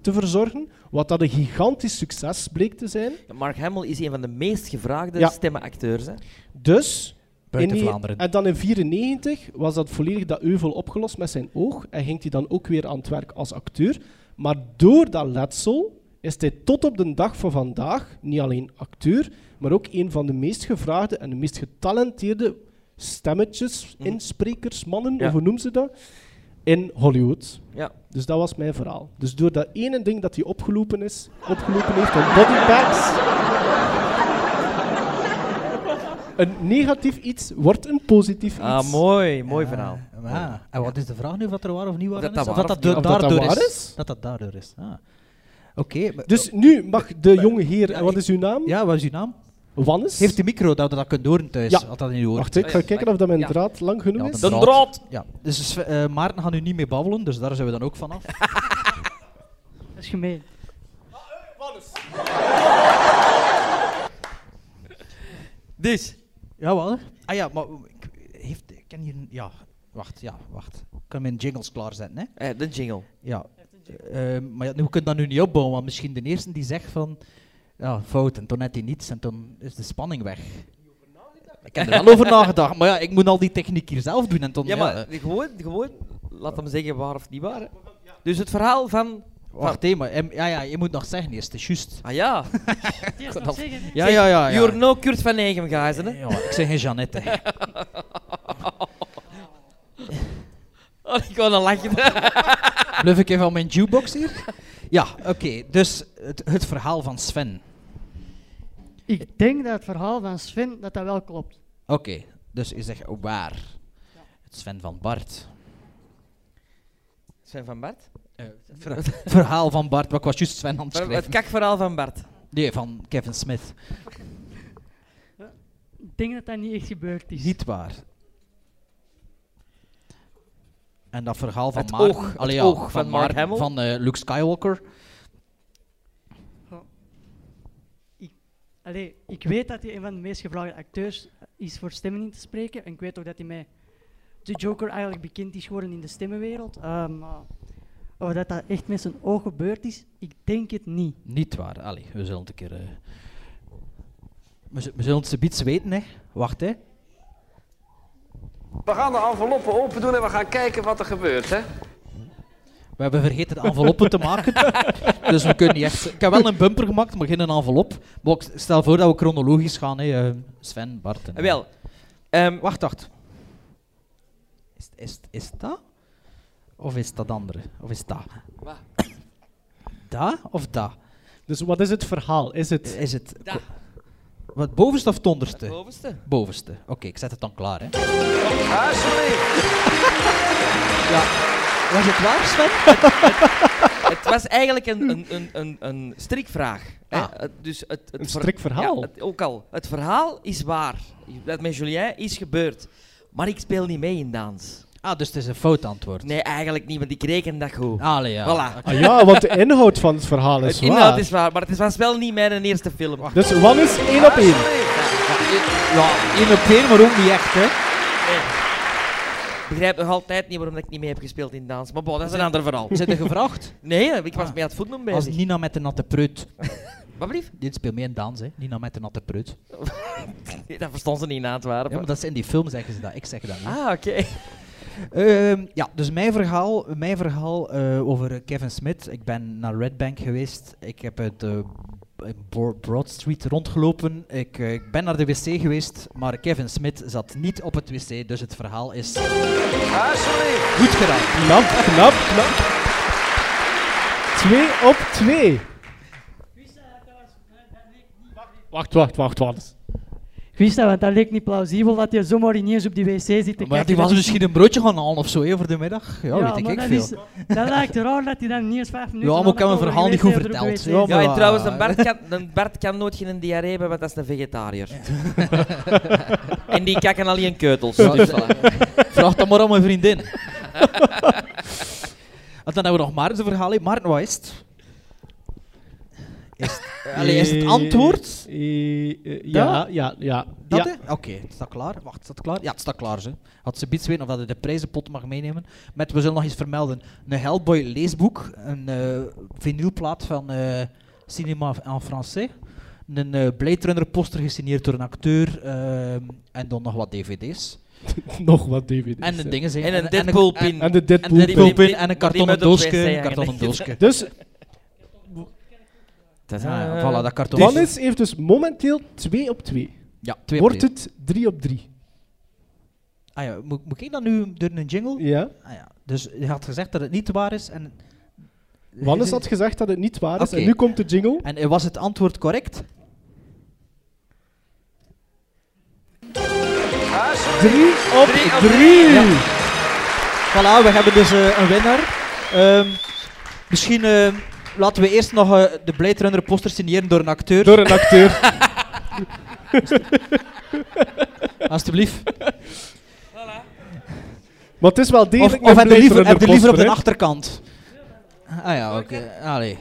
te verzorgen, wat dat een gigantisch succes bleek te zijn.
Mark Hamill is een van de meest gevraagde
Ja.
stemmenacteurs. Hè?
Dus
Buiten
in die-
Vlaanderen.
En dan in 94 was dat volledig dat euvel opgelost met zijn oog. En ging hij dan ook weer aan het werk als acteur. Maar door dat letsel is hij tot op de dag van vandaag niet alleen acteur, maar ook een van de meest gevraagde en de meest getalenteerde stemmetjes,
Mhm.
insprekers, mannen,
Ja.
of hoe noemen ze dat, in Hollywood.
Ja.
Dus dat was mijn verhaal. Dus door dat ene ding dat hij opgelopen is, opgelopen heeft, een bodybags. Een negatief iets wordt een positief iets.
Ah, mooi, mooi
Ah,
verhaal.
ah. En wat is de vraag nu, wat er waar of niet waar
dat
is?
dat
Of
waar
dat
of
da-
niet? Of dat dat
daardoor
waar
is?
is?
Dat dat daardoor is. Ah. Oké. maar-
Dus nu mag de jonge heer, en wat is uw naam?
Ja, wat is uw naam?
Wannes?
Heeft de micro dat we dat kunnen horen thuis?
Ja.
Had dat niet hoort.
Wacht, ik ga
Ja,
kijken of dat mijn
ja.
draad lang genoeg
Ja,
is.
dan-
De
Draad.
draad!
Ja. Dus Sven- eh, Maarten gaat nu niet meer babbelen, dus daar zijn we dan ook vanaf.
Dat is gemeen.
Dus,
ja, wel. Ah ja, maar ik, heeft, ik kan hier... een- Ja, wacht, ja, wacht. Ik kan mijn jingles klaarzetten, hè.
eh, de jingle.
Ja. Eh, maar ja, nu, we kunnen dat nu niet opbouwen, want misschien de eerste die zegt van... Ja, fout, en toen net hij niets, en toen is de spanning weg. Ik heb er wel over nagedacht, maar ja, ik moet al die techniek hier zelf doen. En toen,
Ja,
ja,
maar gewoon, gewoon, laat hem zeggen waar of niet waar. hè. Dus het verhaal van...
Wacht, hé, maar hem- ja, ja, je moet nog zeggen eerst, het is juist.
Ah ja,
Eerst nog zeggen. hè.
Ja, ja, ja. ja.
you're no Kurt van Eigen, guys. Hè?
Ja, ik zeg geen Jeannette. hè.
Oh, ik wou dan lachen. Oh,
Bluff ik even van mijn jukebox hier?
Ja, oké. Dus het, het verhaal van Sven.
Ik denk dat het verhaal van Sven dat dat wel klopt.
Oké, dus je zegt
oh,
waar? Het Sven van Bart.
Sven van Bart?
Het verhaal van Bart, wat ik was juist Sven aan het
Ver-
schrijven.
Het kakverhaal van Bart.
Nee, van Kevin Smith.
Ik denk dat dat niet echt gebeurd is.
Niet waar. En dat verhaal van
Het
Mark,
oog, het
allee,
oog van Mark
Mar-
Hamill.
Van eh, Luke Skywalker.
Allee, ik weet dat hij een van de meest gevraagde acteurs eh, is voor stemmen in te spreken. En ik weet ook dat hij met de Joker eigenlijk bekend is geworden in de stemmenwereld. Eh, maar of dat dat echt met zijn oog gebeurd is, ik denk het niet.
Niet waar. Allee, we zullen het een keer... eh, we, z- we zullen het zoiets weten, hè. Wacht, hè.
We gaan de enveloppen open doen en we gaan kijken wat er gebeurt, hè?
Eh,
We hebben vergeten de enveloppen te maken. dus we kunnen niet echt... Ik heb wel een bumper gemaakt, maar geen envelop. Maar ik stel voor dat we chronologisch gaan, hè. eh, Sven, Bart en...
Eh, Wel, ehm,
wacht, wacht. Is, is, is dat? Of is dat andere? Of is dat?
Wat?
Da of da?
Dus wat is het verhaal? Is het...
Is het... Wat, bovenste of het onderste?
Het bovenste.
Bovenste. Oké, ik zet het dan klaar, hè.
Ja.
Was het waar, Sven?
het was eigenlijk een, een, een, een, een strikvraag. hè.
Ah.
Het- dus het, het
Een
ver-
strikverhaal?
Ja, het- ook al. Het verhaal is waar. Dat met Julien is gebeurd. Maar ik speel niet mee in dans.
Ah, dus het is een fout antwoord.
Nee, eigenlijk niet, want ik reken dat goed.
Allee, ja.
Voilà.
Ah ja, want de inhoud van het verhaal is
Het
waar.
inhoud is waar, maar het was wel niet mijn eerste film.
Dus wat is één op één?
Ja, één op één, maar ook niet echt, hè.
Ik begrijp nog altijd niet waarom ik niet mee heb gespeeld in dans. Maar bon, dat is een ander verhaal.
Zit er gevraagd? Ah.
Nee, ik was mee aan het voetballen
Als
bezig.
Nina met de natte preut.
Wat blieft?
Dit speelt mee in dans, hè. Nina met de natte preut.
Dat verstond ze niet na het waren.
Ja, maar dat is in die film zeggen ze dat. Ik zeg dat niet.
Ah, oké.
Ehm, ja, dus mijn verhaal, mijn verhaal eh, over eh, Kevin Smith. Ik ben naar Red Bank geweest. Ik heb het eh, b- eh, Bro- Broad Street rondgelopen. Ik, eh, ik ben naar de wc geweest, maar Kevin Smith zat niet op het wc. Dus het verhaal is goed gedaan.
Knap, knap, knap. Twee op twee. Wacht, wacht, wacht, wacht.
Ik wist dat, want dat leek niet plausibel dat je zomaar ineens op die wc zit te kijken.
Maar die was
Dat is-
misschien een broodje gaan halen of zo hè, voor de middag. Ja,
Ja,
weet ik,
maar
ik
dat
veel.
is- dat lijkt raar dat hij dan ineens vijf minuten...
maar ik heb mijn
nadat
verhaal niet
over
goed
de wc
verteld.
is, er
Ja,
op de
Ja,
maar-
wc
en trouwens, een Bart, kan, een Bart kan nooit geen diarree hebben, want dat is een vegetariër. en die kakken al in keutels.
Ja,
dus
d-
voilà.
Vraag dat maar aan mijn vriendin. Want dan hebben we nog Maarten zijn verhaal. hè. Maarten, wat is het? Is het, allee, is het antwoord?
Eh, eh, ja,
Dat?
ja, ja.
Dat,
ja.
hè? Oké, het staat klaar. Wacht, staat klaar? Ja, het staat klaar. Ze. Had ze biets weten of dat hij de prijzenpot mag meenemen. Met, we zullen nog eens vermelden, een Hellboy leesboek, een eh vinylplaat van eh, Cinema en Français, een eh Blade Runner poster gesigneerd door een acteur ehm, en dan nog wat dvd's.
Nog wat eh, DVD's.
En de
hè.
dingen zijn...
En een Deadpool-pin.
En de Deadpool.
Een
Deadpool-pin.
Deadpool-pin en een
Maar die
kartonnen
moet op wc
doosje. Een
hangen.
kartonnen doosje.
Dus
Ja, voilà, dat kartonnen doosje.
Wannes heeft dus momenteel 2 op 2.
Ja, twee
Wordt
op
het 3 op 3?
één. Ah ja, moet, moet ik dan nu door een jingle?
Ja.
Ah ja, dus je had gezegd dat het niet waar is en...
Wannes had gezegd dat het niet waar is.
Oké.
En nu komt de jingle.
En eh, was het antwoord correct?
3 op 3!
Voilà, we hebben dus eh, een winnaar. Ehm, misschien eh, laten we eerst nog eh, de Blade Runner poster signeren door een acteur.
Door een acteur.
Alsjeblieft.
Maar het is wel
Of,
degelijk
of
een
heb je
Blade
liever, heb
Runner
je liever op de
poster, hè.
achterkant? Ah ja, oké. Allee.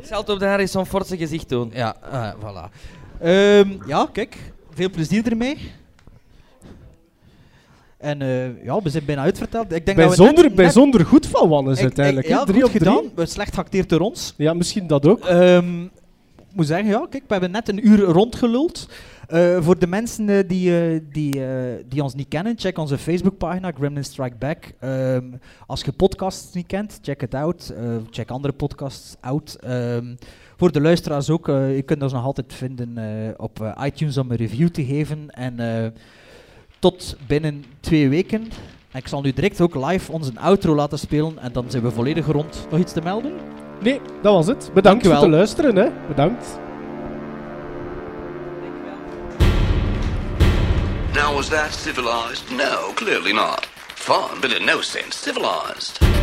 Ik zal het op de Harrison Ford zijn gezicht doen.
Ja, eh, voilà. Ehm, ja, kijk. Veel plezier ermee. En eh, ja, we zijn bijna uitverteld. Ik denk dat we net-
Bijzonder,
net-
bijzonder goed van Wannes
ik- ik-
uiteindelijk. hè.
Ja,
Drie
goed
op
gedaan.
drie.
Slecht geacteerd door ons.
Ja, misschien dat ook.
Ehm, ik moet zeggen, ja, kijk, we hebben net een uur rondgeluld. Eh, voor de mensen eh, die, eh, die, eh, die ons niet kennen, check onze Facebookpagina, Gremlin Strike Back. Ehm, als je podcasts niet kent, check het out. Eh, check andere podcasts out. Ehm, voor de luisteraars ook, eh, je kunt ons nog altijd vinden eh, op eh, iTunes om een review te geven. En eh, tot binnen twee weken. En ik zal nu direct ook live onze outro laten spelen en dan zijn we volledig rond. Nog iets te melden?
Nee, dat was het. Bedankt voor
Dankjewel.
te luisteren. Hè. Bedankt.
Now, was that civilized? No, clearly not. Fun, but in no sense civilized.